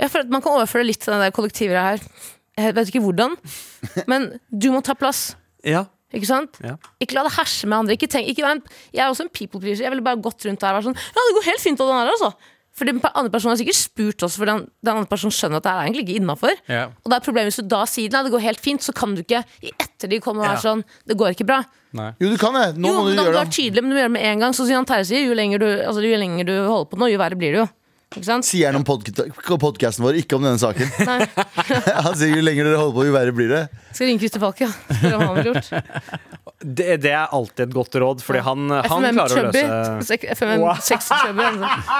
Jeg føler at Man kan overføre litt til den der kollektivet her. Jeg vet ikke hvordan, men du må ta plass.
Ja.
Ikke sant?
Ja.
Ikke la det herse med andre. Ikke tenk, ikke vær en, jeg er også en people pleaser. Jeg ville bare gått rundt der og vært sånn Ja, det går helt fint av den her, altså. For den pe- andre personen har sikkert spurt oss, for den, den andre personen skjønner at det er egentlig ikke innafor.
Ja.
Og da er problemet hvis du da sier nei, det går helt fint, så kan du ikke i ettertid komme og være
Ja.
sånn det går ikke bra.
Nei.
Jo, du kan det. Nå
jo,
må
men
du
da må du
gjøre
være
det.
tydelig, men du må gjøre det med en gang. Så sier han Terje sier jo lenger du, altså, jo lenger du holder på nå, jo verre blir det jo. Ikke sant?
Sier han om podkasten vår, ikke om denne saken.
Nei.
Han sier jo lenger dere holder på, jo verre blir det.
Skal ringe Christer Falk, ja. Spørre hva han ville gjort.
Det, det er alltid et godt råd, fordi han, han
FMM
klarer å
Chubby.
løse
Sek- FMM
Wow.
sexy Chubby. altså.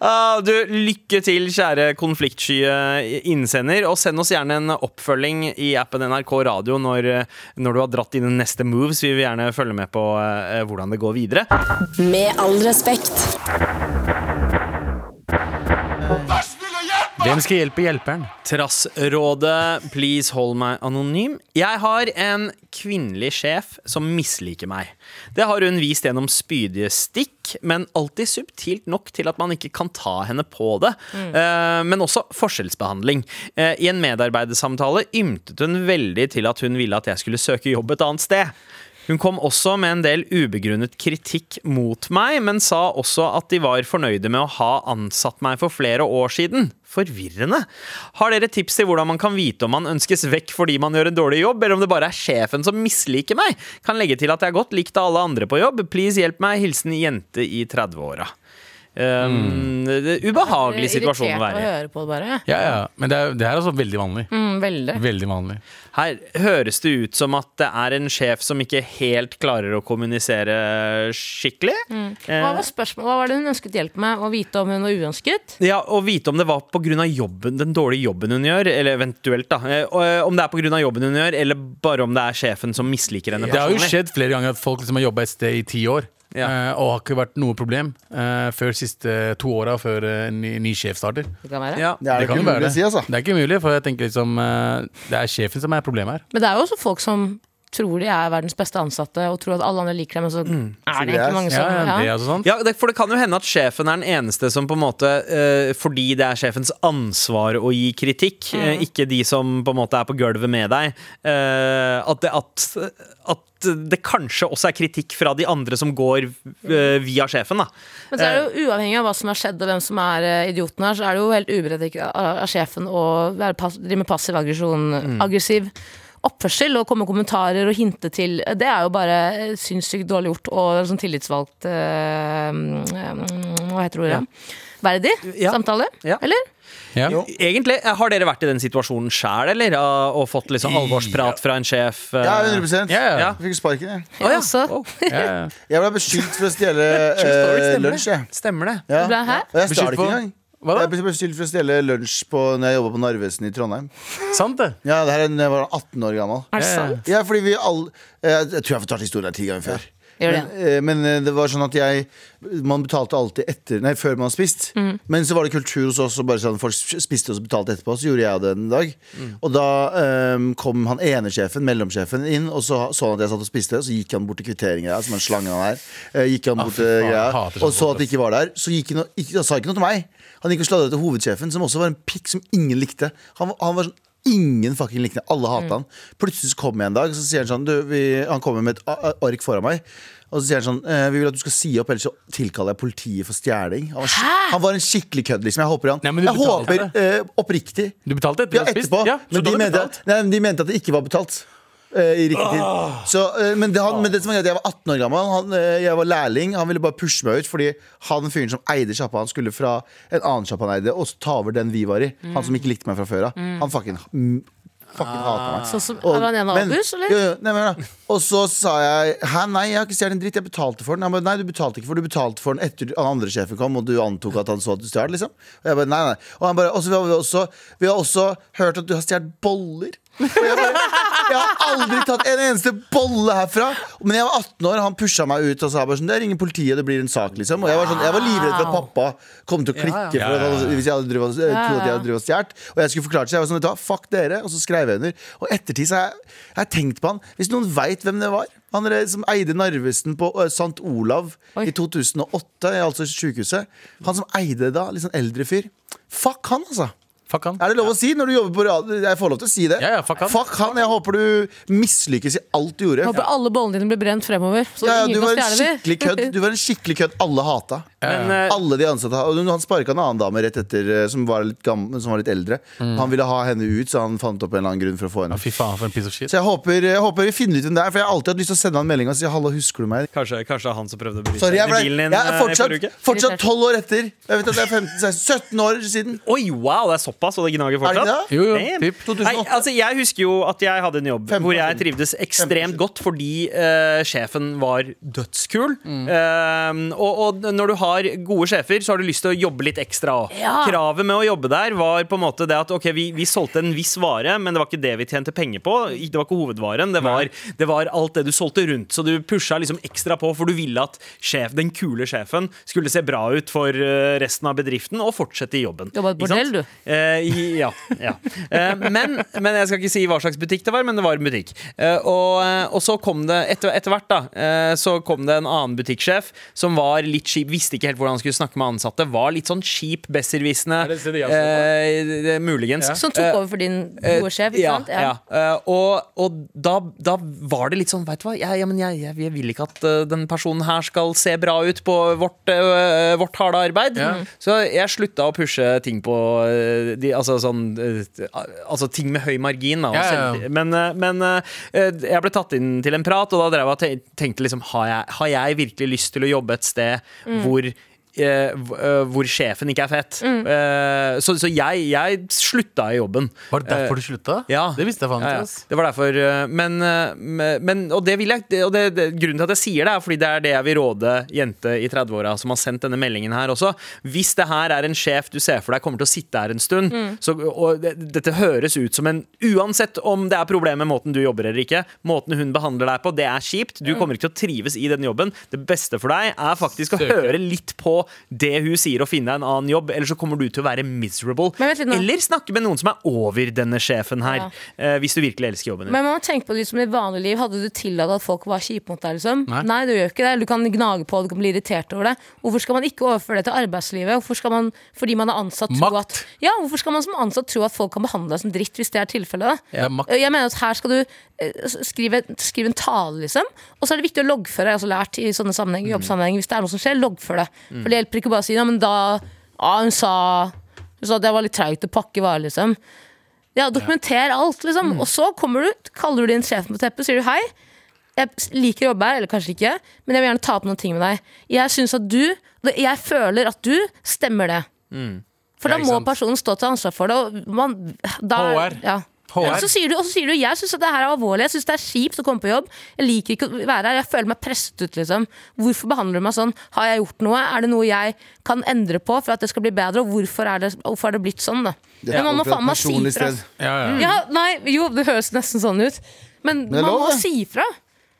Ah, du, Lykke til, kjære konfliktsky eh, innsender. Og send oss gjerne en oppfølging i appen NRK Radio når, eh, når du har dratt dine neste moves. Vi vil gjerne følge med på eh, hvordan det går videre.
Med all respekt.
Hvem skal hjelpe hjelperen?
Trassrådet, please hold meg anonym. Jeg har en kvinnelig sjef som misliker meg. Det har hun vist gjennom spydige stikk, men alltid subtilt nok til at man ikke kan ta henne på det. Eh, men også forskjellsbehandling. Eh, I en medarbeidersamtale ymtet hun veldig til at hun ville at jeg skulle søke jobb et annet sted. Hun kom også med en del ubegrunnet kritikk mot meg, men sa også at de var fornøyde med å ha ansatt meg for flere år siden. Forvirrende. Har dere tips til hvordan man kan vite om man ønskes vekk fordi man gjør en dårlig jobb, eller om det bare er sjefen som misliker meg? Kan legge til at jeg er godt likt av alle andre på jobb. Please hjelp meg. Hilsen jente i 30-åra. Um, det er Ubehagelig situasjon å være i.
Irritert av å høre på det bare.
Ja, ja. Men det er, det er altså veldig vanlig.
Mm, veldig.
Veldig vanlig.
Her høres det ut som at det er en sjef som ikke helt klarer å kommunisere skikkelig.
Hva var spørsmålet? Hva var det hun ønsket hjelp med? Å vite om hun var uønsket?
Ja, og vite om det var på grunn av jobben, den dårlige jobben hun gjør, eller eventuelt da, eh, og, eh, om det er på grunn av jobben hun gjør, eller bare om det er sjefen som misliker henne
Det har jo
personlig.
skjedd flere ganger at folk liksom har jobba et sted i ti år.
Ja.
eh, Og har ikke vært noe problem eh, før siste to åra, før eh, ny, ny sjef starter.
Det kan være.
Ja.
Det er det
kan
ikke
jo være
mulig å si, altså.
Det er ikke umulig, for jeg tenker liksom eh, Det er sjefen som er problemet her.
Men det er jo også folk som tror de er verdens beste ansatte, og tror at alle andre liker dem, men så er
det
det
er-
ikke mange som
ja, ja, det er
ja.
altså sant.
Ja, det, for det kan jo hende at sjefen er den eneste som på en måte, eh, fordi det er sjefens ansvar å gi kritikk, eh, ikke de som på en måte er på gulvet med deg, eh, at, det, at, at det kanskje også er kritikk fra de andre som går eh, via sjefen da.
Men så er det jo uavhengig av hva som har skjedd, og hvem som er eh, idioten her, så er det jo helt uberettiget av av sjefen å være pass- drive med passiv aggresjon, aggressiv oppførsel, og komme med kommentarer og hinte til Det er jo bare eh, sinnssykt dårlig gjort, og sånn tillitsvalgt eh, mm, Hva heter ordet? Verdig
Ja.
samtale?
Ja.
Eller?
Ja.
Egentlig, eh, har dere vært i den situasjonen selv, eller? Ah, Og fått liksom alvorsprat fra en sjef? eh?
Ja, 100
Ja, ja.
Jeg fikk sparken, jeg.
Å, ja. Oh.
Også.
Wow.
Ja, ja.
Jeg ble beskyldt for å stjele
Story,
eh,
stemmer det.
lunsj, jeg.
Stemmer det.
Ja.
Du ble hæ?
Og jeg
Beskyldt
stjal ikke
for-
engang.
Hva da?
Jeg ble bestilt for å stjele lunsj på, når jeg jobba på Narvesen i Trondheim.
Sant det.
Ja, det her er når jeg var 18 år gammel.
Er det sånn. sant?
Ja, fordi vi alle eh, Jeg tror jeg har fortalt historien her ti ganger før.
Gjør det.
Men, eh, men eh, det var sånn at jeg Man betalte alltid etter Nei, før man har spist.
Mm.
Men så var det kultur hos oss, og bare sånn folk spiste og så betalte etterpå. Så gjorde jeg det en dag.
Mm.
Og da eh, kom han ene sjefen, mellomsjefen, inn, og så så han at jeg satt og spiste, og så gikk han bort til kvitteringa som en slange han er. Eh, gikk han bort
fy
til
faen, jeg
greia,
hater sånne
og så
folk,
at det ikke var der. Så gikk han, og, ikke, han sa ikke noe til meg. Han gikk og sladret til hovedsjefen, som også var en pikk som ingen likte. Han, var- han var sånn Ingen fucking likte han. Alle hatet han. Plutselig så kommer jeg en dag, så sier han sånn du, vi, Han kommer med et a- a- ark foran meg. Og så sier han sånn eh, Vi vil at du skal si opp, ellers så tilkaller jeg politiet for stjæling. Han var, skik- han var en skikkelig kødd, liksom. Jeg håper han
Nei, men du
Jeg
betalte
håper
for
eh, oppriktig.
Du betalte etter
Ja,
du hadde spist?
etterpå.
Ja, så
men,
du
de
hadde
mente
betalt. Ah.
at, nei, men de mente at det ikke var betalt. eh, I riktig tid. Så, eh, men, det, han, men det som var greit, jeg var 18 år gammel, han, eh, jeg var lærling. Han ville bare pushe meg ut fordi han fyren som eide sjappa, han skulle fra en annen sjappa han eide, og så ta over den vi var i. Han som ikke likte meg fra før av. Han fucking, mm, fucking hata meg.
Sånn som
Og-
Er han en av
men-
Abus,
Jo,
eller?
jo, nei, men, hør da. og så sa jeg Hæ, nei, jeg har ikke stjålet en dritt. Jeg betalte for den. Han ba, nei, du betalte ikke for den. Du betalte for den etter han andre sjefen kom, og du antok at han så at du stjal, liksom. Og jeg bare, nei, nei. Og han bare, og så har vi også Vi har også hørt at du har stjålet boller. Og jeg bare jeg har aldri tatt en eneste bolle herfra. Men jeg var 18 år, han pusha meg ut og sa bare sånn Det ringer politiet, det blir en sak, liksom. Og jeg var, sånn, jeg var livredd for at pappa kom til å klikke for at han, Altså, hvis jeg hadde drevet, og- trodde at jeg hadde drevet og stjålet. Og jeg skulle forklare seg. Jeg var sånn, vet du hva, fuck dere. Og så skrev jeg under. Og ettertid så har jeg, jeg har tenkt på han. Hvis noen veit hvem det var Han er det som eide Narvesen på ø, St. Olav
Oi.
i 2008, altså sykehuset. Han som eide det da, litt sånn eldre fyr. Fuck han, altså.
Fuck han.
Er det lov å si når du jobber på radio? Jeg får lov til å si det.
Ja, ja, fuck han.
Jeg håper du mislykkes i alt du gjorde.
Jeg håper alle bollene dine blir brent fremover. Så
Ja, ja, du
ingen
var
kan
en
stjele de.
skikkelig kødd. Du var en skikkelig kødd alle hata.
Men, eh,
Alle de ansatte ha- og Han sparka en annen dame rett etter eh, som var litt, gammel, som var litt eldre. Han ville ha henne ut, så han fant opp en eller annen grunn for å få henne
Mm. Fy faen, for en piece of shit.
Så jeg håper, jeg håper vi finner ut hvem det er, for jeg har alltid hatt lyst til å sende han en melding og si 'halla, husker du meg?'
Kanskje, kanskje det er han som prøvde å bryte
Sorry, jeg,
seg inn
ble,
i bilen din
jeg er
eh, i forrige
fortsatt,
uke?
fortsatt 12 år etter. Jeg vet at det er 15, 16, 17 år siden.
Oi, wow, det er såpass, og det gnager
Er det
fortsatt?
ikke det?
Jo, jo,
Damn.
typ.
2008.
Nei, altså Jeg husker jo at jeg hadde en jobb
15
hvor jeg
siden.
trivdes
15
ekstremt
siden.
godt fordi eh, sjefen var dødskul.
Mm.
Eh, og, og når du har gode sjefer, så har du lyst til å jobbe litt ekstra òg.
Ja.
Kravet med å jobbe der var på en måte det at ok, vi, vi solgte en viss vare, men det var ikke det vi tjente penger på. Ikke- Det var ikke hovedvaren. Det var, det var alt det du solgte rundt. Så du pusha liksom ekstra på, for du ville at sjef, den kule sjefen skulle se bra ut for eh, resten av bedriften og fortsette i jobben.
Jobba i et
Ikke sant?
bordell, du.
Eh, i- ja. ja. Eh, men, men jeg skal ikke si hva slags butikk det var, men det var en butikk. Eh, og, eh, og så kom det etter, etter hvert da eh, Så kom det en annen butikksjef som var litt kjip, visste ikke helt hvordan han skulle snakke med ansatte. Var litt sånn kjip, besserwissende.
Er det stedet jeg
Eh, det- det- muligens. Sånn
Som tok over for din
Eh,
gode sjef, ikke
ja,
sant?
Ja. Eh, og og da, da var det litt sånn, veit du hva, jeg, ja, men jeg, jeg, jeg vil ikke at eh, den personen her skal se bra ut på vårt, eh, vårt harde arbeid.
Ja.
Så jeg slutta å pushe ting på eh, de, altså, sånn, eh, altså ting med høy margin. Da, og
Ja, ja, ja.
selv- Men, eh, men eh, eh, jeg ble tatt inn til en prat, og da drev jeg og te- tenkte liksom, har jeg, har jeg virkelig lyst til å jobbe et sted
Mm.
hvor eh, hv- eh, hvor sjefen ikke er fett. Eh, så så jeg, jeg slutta i jobben.
Var det derfor du slutta?
Ja.
Det visste jeg faen
Ja,
ikke.
ja.
ass.
Det var derfor eh, Men, eh, men og, det vil jeg, det- og det, det, grunnen til at jeg sier det, er fordi det er det jeg vil råde jente i 30-åra som har sendt denne meldingen her også. Hvis det her er en sjef du ser for deg kommer til å sitte her en stund,
Mm.
så, og det, dette høres ut som en Uansett om det er problemer med måten du jobber eller ikke, måten hun behandler deg på, det er kjipt.
Mm.
Du kommer ikke til å trives i den jobben. Det beste for deg er faktisk å
Søke.
høre litt på det hun sier, og finne deg en annen jobb, eller så kommer du til å være miserable.
Men vent litt nå.
Eller snakke med noen som er over denne sjefen her. eh, hvis du virkelig elsker jobben din.
Men man må tenke på det som i vanlig liv. Hadde du tillatt at folk var kjipe mot deg? liksom?
Nei.
Nei. du gjør ikke det. Du kan gnage på, du kan bli irritert over det. Hvorfor skal man ikke overføre det til arbeidslivet? Hvorfor skal man, fordi man er ansatt, tro
Makt.
at Ja, hvorfor skal man som ansatt tro at folk kan behandle deg som dritt hvis det er tilfellet? da?
Det er makt.
Jeg mener at her skal du eh, s- skrive, skrive en tale, liksom. Og så er det viktig å loggføre. Jeg har også lært i sånne sammenhenger, jobbsammenhenger, hvis det er noe som skjer, loggfør det. For det hjelper ikke bare å si ja, men da Ja, hun sa Hun sa at det var litt treigt å pakke varer, liksom. Ja, Dokumenter alt, liksom. Og så kommer du, ut, kaller du din sjef på teppet sier du hei. Jeg s- liker å jobbe her, eller kanskje ikke, men jeg vil gjerne ta opp noen ting med deg. Jeg synes at du, jeg føler at du stemmer det. For
Mm. Ja,
da
ikke
må
sant.
personen stå til ansvar for det. Og man, da,
HR.
Ja.
HR.
Og så sier du, og så sier du jeg syns det her er alvorlig, jeg syns det er kjipt å komme på jobb. Jeg liker ikke å være her, jeg føler meg presset ut, liksom. Hvorfor behandler du meg sånn? Har jeg gjort noe? Er det noe jeg kan endre på for at det skal bli bedre? Og hvorfor er det, hvorfor er det blitt sånn, da? Men man må
Fra et
faen meg si
personlig
fra.
sted.
Ja, ja.
Ja, nei, jo, det høres nesten sånn ut. Men,
det er
man
lov,
må
det.
si fra.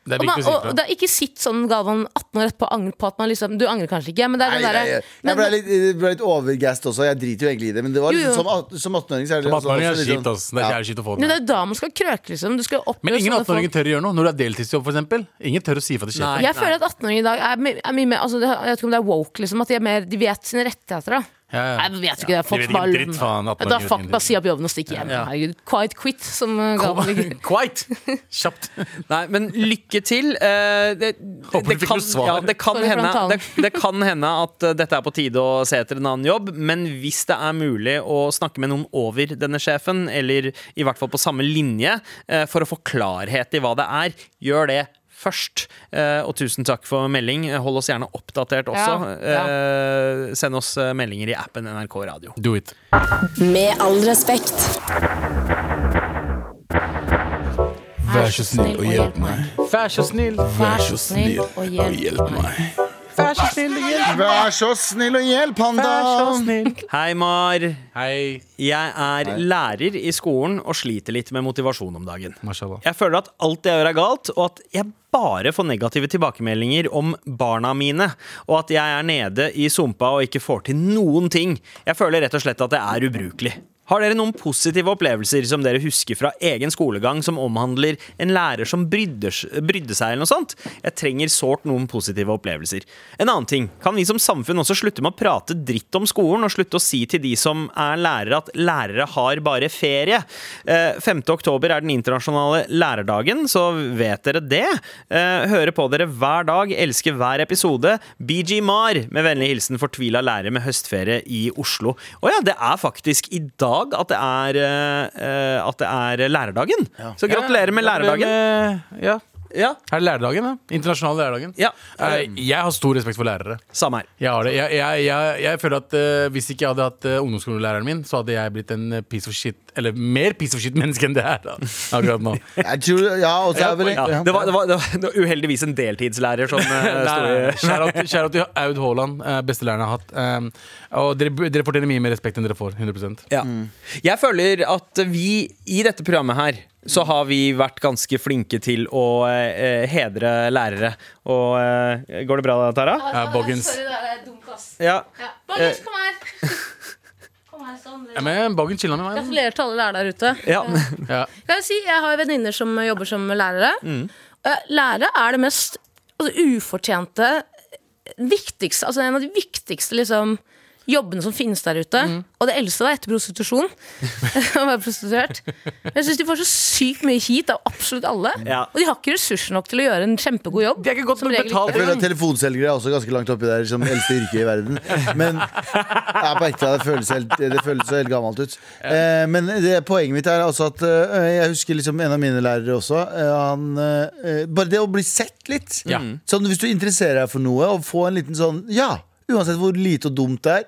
Det er
Og, man,
viktig å si
og,
fra.
det er ikke sitt sånn, Galvan, 18 år etterpå og angre på at man liksom Du angrer kanskje ikke, men det er
Nei,
den
nei,
derre
jeg,
men-
jeg ble litt, jeg ble litt overgassed også. Jeg driter jo egentlig i det. Men det var
Jo,
liksom,
jo.
som, at- som 18-åring så er det
Som 18-åring er
også litt
det
sånn-
kjipt, ass. altså. Det er jævlig kjipt å få
Men
det. sånn
det er jo da man skal krøke, liksom. Du skal oppleve
Men ingen
sånne
18-åringer
folk.
tør å gjøre noe når det er deltidsjobb, for eksempel Ingen tør å si fra til
Nei.
sjefen.
Jeg føler at 18-åringer i dag er, my er mye mer altså, det- Jeg vet ikke om det er woke, liksom. At de, er mer, de vet sine rettigheter, da.
Ja, ja.
Nei, Jeg vet ikke det. Folk
vet ikke
bare,
dritt, faen, 18-åringer
da
vet
fuck,
ingenting.
bare si opp jobben og stikke hjem.
Ja.
Herregud. Quiet quit, som uh, Galvan ligger
Quite! Kjapt.
Nei, men lykke til. Eh, det,
Håper du
det,
fikk
kan,
noe svar.
ja, det, kan
Sorry for
hende,
omtalen.
det, det kan hende at eh, dette er på tide å se etter en annen jobb, men hvis det er mulig å snakke med noen over denne sjefen, eller i hvert fall på samme linje, eh, for å få klarhet i hva det er, gjør det. Først, Eh, og tusen takk for melding. Hold oss gjerne oppdatert også.
Ja, ja.
Eh, Send oss eh, meldinger i appen NRK Radio.
Do it.
Med all respekt.
Vær så snill og hjelp meg. Vær så snill. Vær så snill
og
og
hjelp
hjelp meg. Vær så snill og hjelp
Vær så snill og hjelp han, da!
snill.
Hei, Mar.
Hei.
Jeg er lærer i skolen og sliter litt med motivasjon om dagen.
Mashallah.
Jeg føler at alt jeg gjør er galt, og at jeg bare får negative tilbakemeldinger om barna mine, og at jeg er nede i sumpa og ikke får til noen ting. Jeg føler rett og slett at jeg er ubrukelig. Har dere noen positive opplevelser som dere husker fra egen skolegang, som omhandler en lærer som brydde, s- brydde seg, eller noe sånt? Jeg trenger sårt noen positive opplevelser. En annen ting. Kan vi som samfunn også slutte med å prate dritt om skolen, og slutte å si til de som er lærere, at lærere har bare ferie? Eh, 5. oktober er den internasjonale lærerdagen, så vet dere det. Eh, Hører på dere hver dag, elsker hver episode. BG Mar, med vennlig hilsen fortvila lærer med høstferie i Oslo. Å ja, det er faktisk i dag at det er, eh, at det er lærerdagen. Så gratulerer med lærerdagen.
Eh, Ja.
Ja,
Her er lærerdagen, da. Internasjonal lærerdagen.
Ja.
Eh, Jeg har stor respekt for lærere.
samme her.
Jeg har det. Jeg, jeg, jeg, jeg føler at eh, hvis ikke jeg hadde hatt eh, ungdomsskolelæreren min, så hadde jeg blitt en eh, piece of shit, eller mer piece of shit menneske enn det her, da. Akkurat nå.
Jeg tror, ja, og så er vel
Ja, det, var, det, var, det var uheldigvis en deltidslærer som eh, sto i
Kjære til Aud Haaland, eh, beste læreren jeg har hatt. Um, og dere, bu- dere fortjener mye mer respekt enn dere får. 100
Ja. Jeg føler at vi i dette programmet her så har vi vært ganske flinke til å eh, hedre lærere. Og eh, Går det bra, Tara?
Eh, Boggins.
Ja.
Eh.
Boggins, kom her!
Ja, men Boggins chilla med meg.
Gratulerer til alle lærere der ute.
ja.
Ja.
Kan jeg si, jeg har jo venninner som jobber som lærere.
Mm.
Eh, Lærere er det mest altså, ufortjente viktigste, altså En av de viktigste liksom, jobbene som finnes der ute.
Mm.
Og det eldste var etter prostitusjon. Å være prostituert. Men Jeg syns de får så sykt mye hit av absolutt alle.
Ja.
Og de har ikke ressurser nok til å gjøre en kjempegod jobb.
De er ikke godt
Som
nok
regel
betalt
Jeg føler at
engang.
Telefonselgere er også ganske langt oppi der som eldste yrke i verden. Men ja, på ekte, det føles, helt, det føles helt gammelt ut. Eh, men det, poenget mitt er altså at eh, jeg husker liksom en av mine lærere også. Eh, han, eh, bare det å bli sett litt.
Ja.
Sånn, hvis du interesserer deg for noe, og få en liten sånn Ja, uansett hvor lite og dumt det er.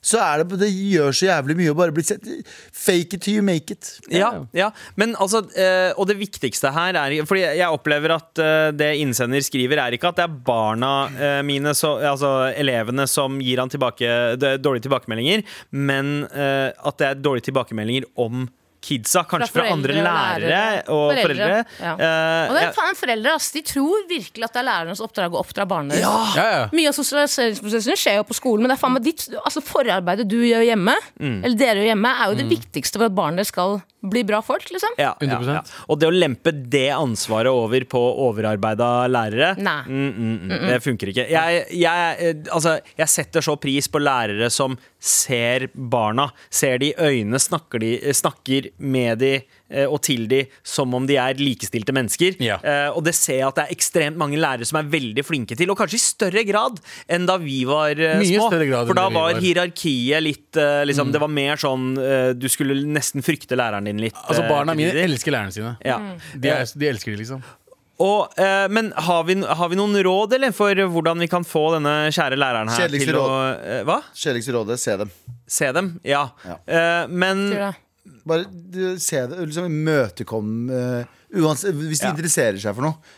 Så er det, det gjør så jævlig mye å bare bli sett. Fake it till you make it.
Ja, ja. Men altså, eh, og det viktigste her er Fordi jeg opplever at eh, det innsender skriver, er ikke at det er barna eh, mine, så, altså elevene, som gir han tilbake, det er dårlige tilbakemeldinger, men eh, at det er dårlige tilbakemeldinger om kidsa. Kanskje fra, andre
foreldre og
lærere,
lærere.
og
Foreldre,
foreldre.
ja.
Eh,
Og det
jeg-
er faen foreldre, ass. De tror virkelig at det er lærernes oppdrag å oppdra barna deres.
Ja, ja.
Mye av sosialiseringsprosessen skjer jo på skolen, men det er faen meg ditt altså forarbeidet du gjør hjemme, eller dere gjør hjemme, er jo det viktigste for at barna deres skal bli bra folk, liksom.
Ja, ja,
100%.
ja. Og det å lempe det ansvaret over på overarbeida lærere
Nei.
Mm, mm, mm, Det funker ikke. Jeg, jeg, eh, altså, jeg setter så pris på lærere som ser barna. Ser de i øynene, snakker, de, eh, snakker med de eh, og til de som om de er likestilte mennesker.
Ja.
Eh, Og det ser jeg at det er ekstremt mange lærere som er veldig flinke til, og kanskje i større grad enn da vi var eh,
Mye
små.
større grad enn
For da
det vi
var
var.
hierarkiet litt eh, liksom,
Mm.
Det var mer sånn eh, Du skulle nesten frykte læreren din litt.
Altså,
eh,
barna
til
mine
tider.
elsker lærerne sine.
Ja.
De, er, de elsker de, liksom.
Og, eh, men har vi, har vi noen råd eller, for hvordan vi kan få denne kjære læreren her
Kjedeligste
til å eh, Hva?
Kjedeligste rådet, se dem.
Se dem? Ja. Eh, men
Tror jeg.
Bare du, se det, liksom imøtekom eh, uansett, Hvis de
Ja.
interesserer seg for noe.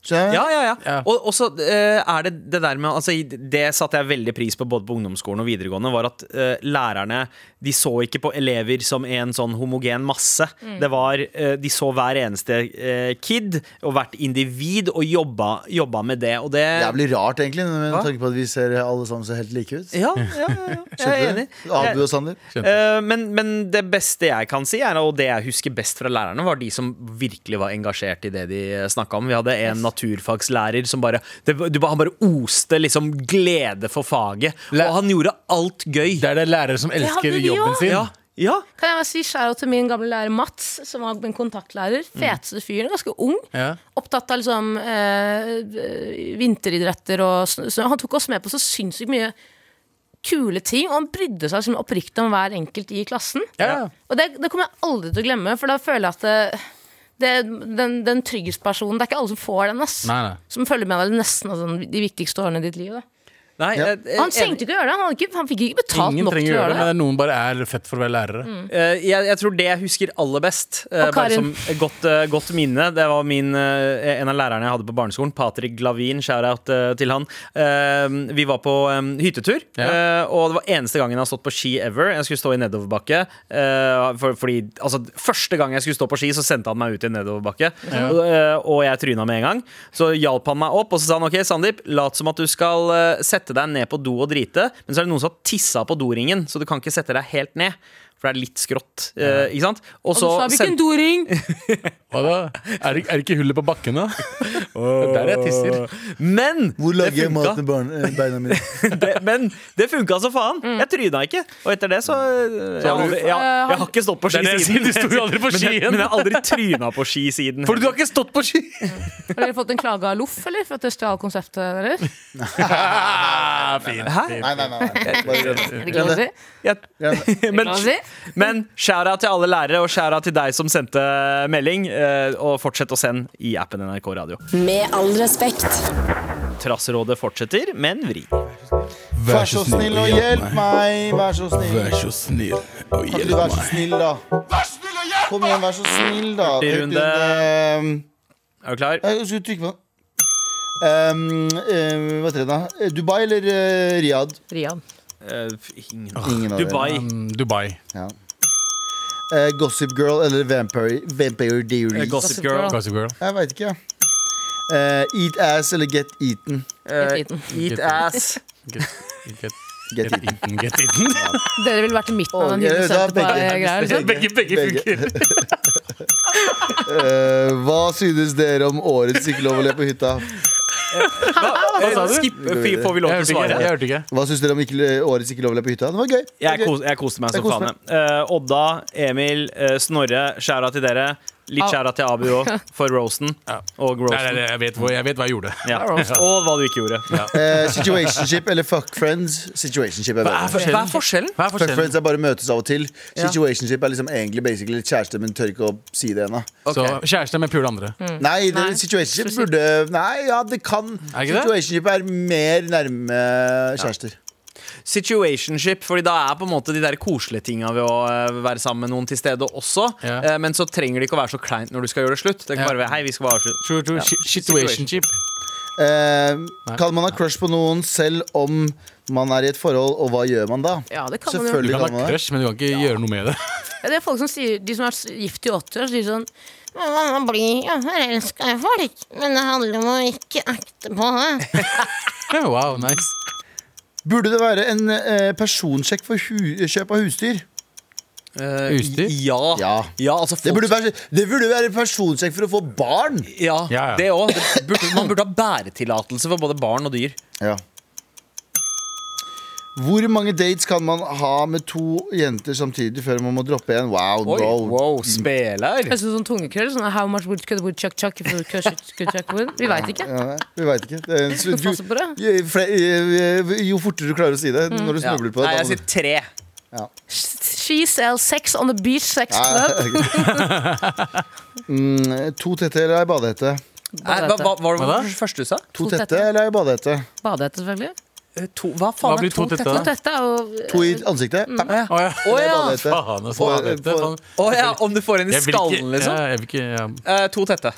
Skjønner du?
ja, ja, ja.
Ja.
Og og så eh, er det det der med altså, i- Det satte jeg veldig pris på både på ungdomsskolen og videregående, var at eh, lærerne De så ikke på elever som en sånn homogen masse. Det var, eh, de så hver eneste eh, kid og hvert individ og jobba, jobba med det. Og det
Jævlig rart, egentlig, med
Hva?
tanke på at vi ser alle sammen så helt like ut.
ja, ja, ja, ja. Jeg er
Skjønner du?
enig.
Abu og Sander.
Eh, men, men det beste jeg kan si, er, og det jeg husker best fra lærerne, var de som virkelig var engasjert i det de snakka om. Vi hadde en naturfagslærer som bare det, du, bare- Han bare oste liksom glede for faget.
Læ-
og han gjorde alt gøy.
Det er det lærere som elsker
hadde de
jobben
også.
sin.
Ja, ja.
Kan jeg bare si skjæra til min gamle lærer Mats, som var min kontaktlærer. Feteste fyren, ganske ung.
Ja.
Opptatt av liksom eh, vinteridretter og s- så Han tok oss med på så sinnssykt mye kule ting, og han brydde seg liksom, oppriktig om hver enkelt i klassen.
Ja.
Og det, det kommer jeg aldri til å glemme, for da føler jeg at det, det, den, den trygghetspersonen Det er ikke alle som får den, ass.
Nei, nei.
Som følger med deg nesten altså, de viktigste årene i ditt liv. Da.
Nei,
Ja.
eh, eh,
Han trengte ikke å gjøre det. Han, hadde ikke, han fikk ikke betalt
Ingen
nok til
trenger
å
gjøre det,
gjøre det.
men noen bare er født for å være lærere.
Eh, jeg, jeg tror det jeg husker aller best, eh,
Og
bare som
Karin.
et godt, eh, godt minne Det var min, eh, en av lærerne jeg hadde på barneskolen, Patrick Glavin. Shout-out eh, til han. Eh, vi var på eh, hyttetur,
Ja.
eh, og det var eneste gangen jeg har stått på ski ever. Jeg skulle stå i nedoverbakke. eh, for, fordi, altså, første gang jeg skulle stå på ski, så sendte han meg ut i en nedoverbakke. Og, eh, og jeg tryna med en gang. Så hjalp han meg opp, og så sa han OK, Sandeep, lat som at du skal eh, sette deg ned på do og drite, men så er det noen som har tissa på doringen, så du kan ikke sette deg helt ned. for det er litt skrått. eh, ikke sant? Og
Og du
så
sa
send-
hvilken doring?
Hva da? Er det, er det ikke hullet på bakken, da? Der er jeg tisser.
Men
Hvor
det
lager jeg
funka.
mat med barn, eh, beina mine?
det, men det funka så faen. Jeg tryna ikke. Og etter det så jeg, har aldri, jeg, jeg har ikke stått på
Det
ski
er det jeg sier,
siden.
du sto jo aldri på
Men jeg,
skien.
men jeg har aldri tryna på ski siden.
For du har ikke stått på ski!
Har dere fått en klage av Loff, eller? For at det stjal konseptet deres?
Fint.
Nei, nei, nei. nei. Bare glem
Er
det.
det ikke lov å si?
Jeg,
Glem det.
men
Lov å si?
men skjæra til alle lærere, og skjæra til deg som sendte melding. eh, Og fortsett å sende i appen NRK Radio.
Med all respekt.
Trasserådet fortsetter, men vri.
Vær så snill og hjelp meg. Vær så snill.
Vær så snill og
Kan ikke du være
hjelp
så
meg.
snill, da? Kom igjen, vær så snill, da.
Hurtig
Trykk
runde.
inn, eh,
Er du klar?
Nei, Jeg skulle trykke på den. Um, eh, hva heter det da? Eh, Dubai eller eh, Riyadh?
Rian.
Eh, ingen.
Ingen av dem.
Dubai.
Mm, Dubai.
Ja. Eh, Gossip Girl eller Vampire, Vampire
Eh,
Diaries?
Gossip Girl.
Gossip Girl.
Jeg veit ikke, jeg. Eh, eat ass eller get eaten?
Eh,
Get eaten.
eat ass.
Get, get,
Get
get
eaten.
eaten, get eaten.
Dere vil vært i midten av
Åh,
den
ja,
hyggelige
da er begge-
senterpa-greia? liksom?
Begge, begge
Begge.
funker.
Eh, hva synes dere om årets ikke lov å le på hytta?
Hva
sa du?
Eh, Skip, f- får vi lov
Jeg
til å
hørte ikke.
svare?
Jeg hørte ikke.
Hva synes dere om ikke, årets ikke lov å le på hytta? Det var gøy. Det var
Jeg,
gøy.
kos, jeg koste meg
Jeg
som
koste
faen. Eh, Odda, Emil, eh, Snorre, skjæra til dere. Litt
Ah.
Au.
skjæra til Abu òg, for roasten. Og
Nei, nei,
roasten.
nei, jeg, vet hvor, jeg vet hva jeg gjorde.
Ja. Og hva du ikke gjorde.
Eh, situationship eller fuck friends? Situationship er bedre.
Hva er forskjellen?
Hva er
Fuck
forskjellen?
friends er bare møtes av og til. Situationship er liksom egentlig basically litt kjæreste, men tør ikke å si det ennå.
Så kjæreste med pule andre.
Mm.
Nei, det,
Nei.
situationship burde Nei, ja, det kan
Er ikke det?
Situationship er mer nærme kjærester.
Situationship, fordi da er på en måte de der koselige tinga ved å eh, være sammen med noen til stede også.
Ja.
Eh, Men så trenger det ikke å være så kleint når du skal gjøre det slutt. Det kan
Ja.
bare være, hei, vi skal bare avslutte.
True, true. shi- Situationship.
Eh, kan man ha crush på noen selv om man er i et forhold, og hva gjør man da?
Ja, det kan man jo.
Du
Selvfølgelig
kan
kan
ha
man det.
crush, men du kan ikke gjøre noe med det.
Ja, Det er folk som sier, De som er s- gift i 80 år, sier sånn Mamma blir jo forelska i folk, men det handler om å ikke akte på det.
Ja, Wow, nice.
Burde det være en eh, personsjekk for hu kjøp av husdyr?
Eh,
Utstyr?
Ja. ja.
Ja.
altså
Det
folk
burde være, det burde være personsjekk for å få barn!
ja,
Ja, ja.
det òg. Man burde ha bæretillatelse for både barn og dyr.
Ja. Hvor mange dates kan man ha med to jenter samtidig før man må droppe en? Wow,
Oi,
bro.
wow, speler.
Høres ut som tungekrøll. Sånn, How much wood could wood chuck chuck if wood could chuck- could chuck wood? Vi veit ikke.
Ja, nei, vi veit ikke. Det er,
Du passer på det. Mm.
jo, fle- jo fortere du klarer å si det når du
Ja.
snubler på
Nei,
det.
jeg sier tre.
She sells sex on the beach sex club.
sier mm, To tette eller ei badehette?
Nei, hva, hva, hva var
Hva da?
det første du sa?
To
To
tette
tette.
eller ei badehette?
Badehette, selvfølgelig.
Eh, To, hva faen
Hva blir
er to
to tette,
tette?
da?
Dette er jo
To i ansiktet? Papp,
Å ja.
mm. Å
det er
ja.
badehette.
Faen, altså,
På-
faen, dette er
på-
sånn-
Å ja, om du får en i
Jeg vil ikke-
skallen, liksom?
Ja, jeg vil ikke ja.
Eh, to tette.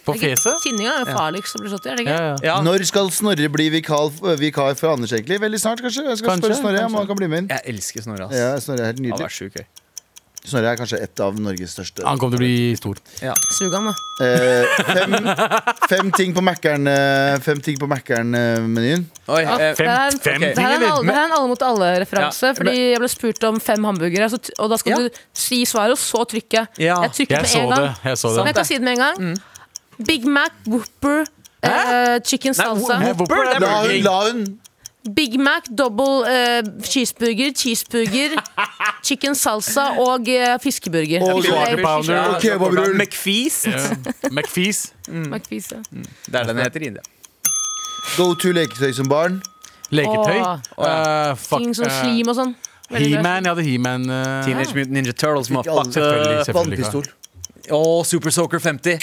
På fjeset?
Tinninga er jo farligst å bli slått i, er det
Ja,
ikke?
ja.
Ja.
Når skal Snorre bli vikar, vikar for Anders, egentlig? Veldig snart, kanskje? Jeg skal
Kanskje,
spørre Snorre om han kan bli med inn.
Jeg elsker Snorre, ass.
Ja, Snorre er helt
Han
nydelig.
er sjuk, jeg.
Snorre er kanskje et av Norges største.
Han kommer til å bli stor.
Sug han, da.
Eh, fem, fem ting på Mækkern, eh, Fem ting på Mækkern-menyen.
Oi, eh,
Det her er
Fem-
en-
fem
det her er en
ting, eller?
alle- det her er en alle mot alle-referanse.
Ja,
fordi jeg ble spurt om fem hamburgere, så t- og da skal
Ja.
du si svaret, og så trykke.
Ja.
Jeg trykket
Jeg
med
så
en gang.
det. Jeg så
Men
det.
jeg kan si det med en gang.
Mm.
Big Mac, Whopper, eh, chicken salsa.
Nei,
Whopper,
Whopper,
det er
La
Burger
hun,
King.
la hun
Big Mac, double eh, cheeseburger, cheeseburger, chicken salsa og eh, fiskeburger.
Og
Det er
quarter pounder.
fiskeburger.
Ok, Bobrull.
McFees.
Ja. McFees.
McFees, ja.
Det er den det heter i India.
Go to leketøy som barn.
Leketøy.
Åh.
Eh, fuck,
Ting som
eh,
slim og sånn. Veldig bra.
He-Man. Jeg hadde He-Man. eh,
Teenage Mutant Ninja Turtles.
Selvfølgelig,
motherfucker.
selvfølgelig.
Vannpistol.
Å, Super Soaker 50.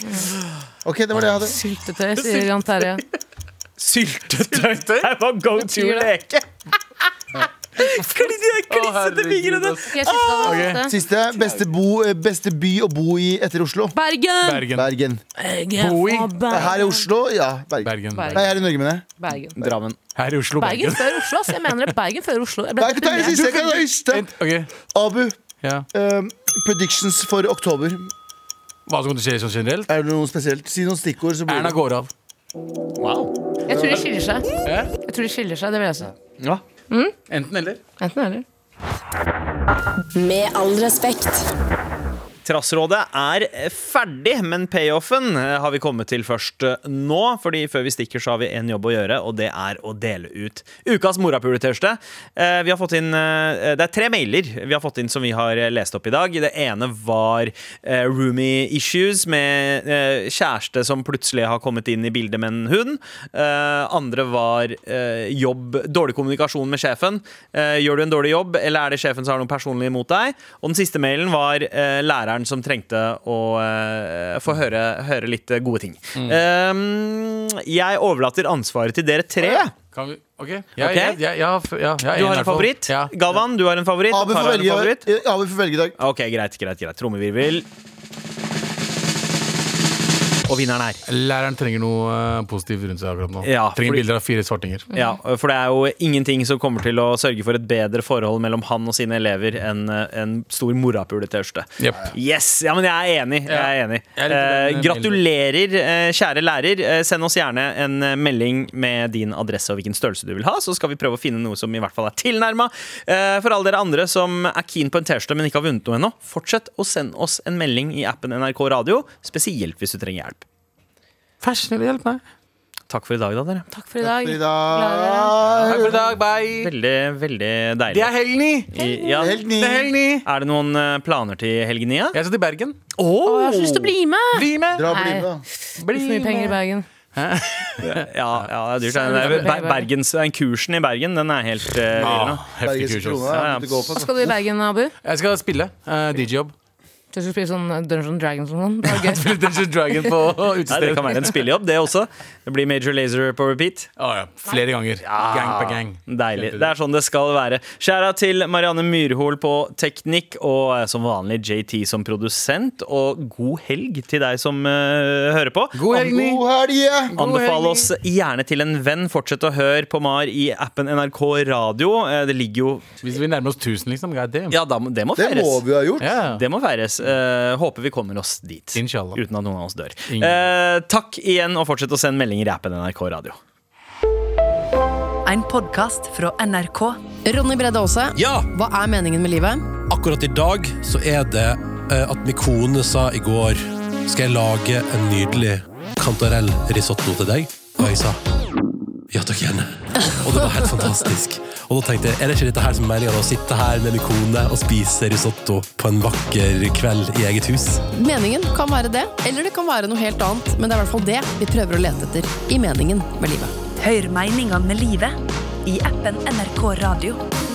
Ok, det var det jeg hadde.
Syltetøy, sier Jan Terje.
Syltetøy. Det var go to
Betyr det?
leke. Klin- Klissete
herregud,
fingrene.
ass.
Skal jeg skyte deg
Ok.
da?
Siste. Beste, bo, eh, beste by å bo i etter Oslo?
Bergen!
Bergen.
Bergen.
Bergen.
Bowie.
Å, Bergen.
Her i Oslo? Ja, Bergen.
Bergen.
Bergen.
Nei, her i Norge, mener jeg.
Bergen.
Drammen.
Her i Oslo,
Bergen
Bergen.
før Oslo, ass. Jeg mener det. Bergen før Oslo. Jeg ble
Nei, ikke ta det
deprimert.
siste, ikke ta det siste.
Ok,
Abu,
ja.
eh, predictions for oktober.
Hva som kommer til å skje sånn generelt?
Er det noe spesielt? Si noen stikkord. Så blir
Erna
det.
går av.
Wow.
Jeg tror de skiller seg. Jeg tror de skiller seg, det vil jeg si.
Ja.
Enten eller.
Enten eller.
Med all respekt.
Trassrådet er ferdig, men payoffen eh, har vi kommet til først eh, nå. Fordi før vi stikker, så har vi en jobb å gjøre, og det er å dele ut ukas morapuletørste. Eh, Vi har fått inn eh, Det er tre mailer vi har fått inn som vi har eh, lest opp i dag. Det ene var eh, roomie issues med eh, kjæreste som plutselig har kommet inn i bildet med en hund. Eh, Andre var eh, jobb Dårlig kommunikasjon med sjefen. Eh, Gjør du en dårlig jobb, eller er det sjefen som har noe personlig imot deg? Og den siste mailen var eh, læreren som trengte å eh, få høre, høre litt eh, gode ting.
Mm.
Eh, jeg overlater ansvaret til dere tre.
Kan vi Ok. Jeg,
Ok.
Jeg, jeg, jeg, har f- ja, jeg er
Du har
enig i hvert
en
fall.
favoritt.
Ja.
Galvan, du har en favoritt.
Abu
Tara
får
har en
velge,
favoritt.
Ja, Abu får velge i dag.
Ok, greit, greit, greit. Trommevirvel. Og vinneren er
Læreren trenger noe eh, positivt rundt seg akkurat nå.
Ja,
trenger
fordi-
bilder av fire svartinger.
Mm. Ja, for det er jo ingenting som kommer til å sørge for et bedre forhold mellom han og sine elever enn eh, en stor morapuletørste.
Jepp.
Yes! Ja, men jeg er enig. Jeg er enig.
Jeg er litt
Eh,
enig.
gratulerer, eh, kjære lærer. Eh, send oss gjerne en eh, melding med din adresse og hvilken størrelse du vil ha, så skal vi prøve å finne noe som i hvert fall er tilnærma. Eh, for alle dere andre som er keen på en T-skjorte, men ikke har vunnet noe ennå, fortsett å sende oss en melding i appen NRK Radio, spesielt hvis du trenger hjelp.
Fashion, hjelp meg.
Takk for i dag, da, dere.
Takk for i dag.
For i
Glad i dere.
dag.
Takk for i dag. Bye.
Veldig, veldig deilig.
Det er helgen i.
I- ja.
Helt ny.
Det er helgen i.
Er det noen eh, planer til helgen, Nia?
Jeg skal til Bergen.
Å, Jeg har så lyst til å bli med!
Bli med!
Dra og
Nei.
bli med, da.
Bli
Så mye penger i
med.
Bergen.
Ja, ja, det er dyrt. Det er- det er Ber- Bergens, den kursen i Bergen, den er helt eh, vill nå.
Ah, heftig
Bergens
kurs. ass.
krone
Ja, ja.
er det du går for.
Hva skal du i Bergen, Abu?
Jeg skal spille eh, DJ-jobb.
Du skal spille sånn Dungeon Dragons og sånn. Det var gøy.
Spille Dungeons Dragon på
Nei, det kan
utestedet.
være en spillejobb, det også. Det blir Major Lazer på repeat.
Ah, ja. Flere ganger. Gang på gang.
Deilig. Det er sånn det skal være. Skjæra til Marianne Myrhol på teknikk, og eh, som vanlig JT som produsent. Og god helg til deg som eh, hører på.
God helg, Ni.
God helg!
Anbefal
helg.
oss gjerne til en venn. Fortsett å høre på Mar i appen NRK Radio. Eh, Det ligger jo
Hvis vi nærmer oss 1000, liksom. God damn.
Ja, da må- det må
Det
feires.
må vi ha gjort.
Ja.
Det må feires. Eh, håper vi kommer oss dit.
Inshallah.
Uten at noen av oss dør.
Ingen.
Eh, takk igjen, og fortsett å sende meldinger i appen NRK Radio.
En podkast fra NRK.
Ronny Bredde Aase,
Ja,
hva er meningen med livet?
akkurat i dag så er det eh, at min kone sa i går Skal jeg lage en nydelig kantarell risotto til deg? Og jeg sa ja takk gjerne. Og det var helt fantastisk. Og da tenkte jeg, er det ikke dette her som er meningen? Å sitte her med min kone og spise risotto på en vakker kveld i eget hus?
Meningen kan være det, eller det kan være noe helt annet, men det er i hvert fall det vi prøver å lete etter i meningen med livet.
Hør meningene med livet i appen NRK Radio.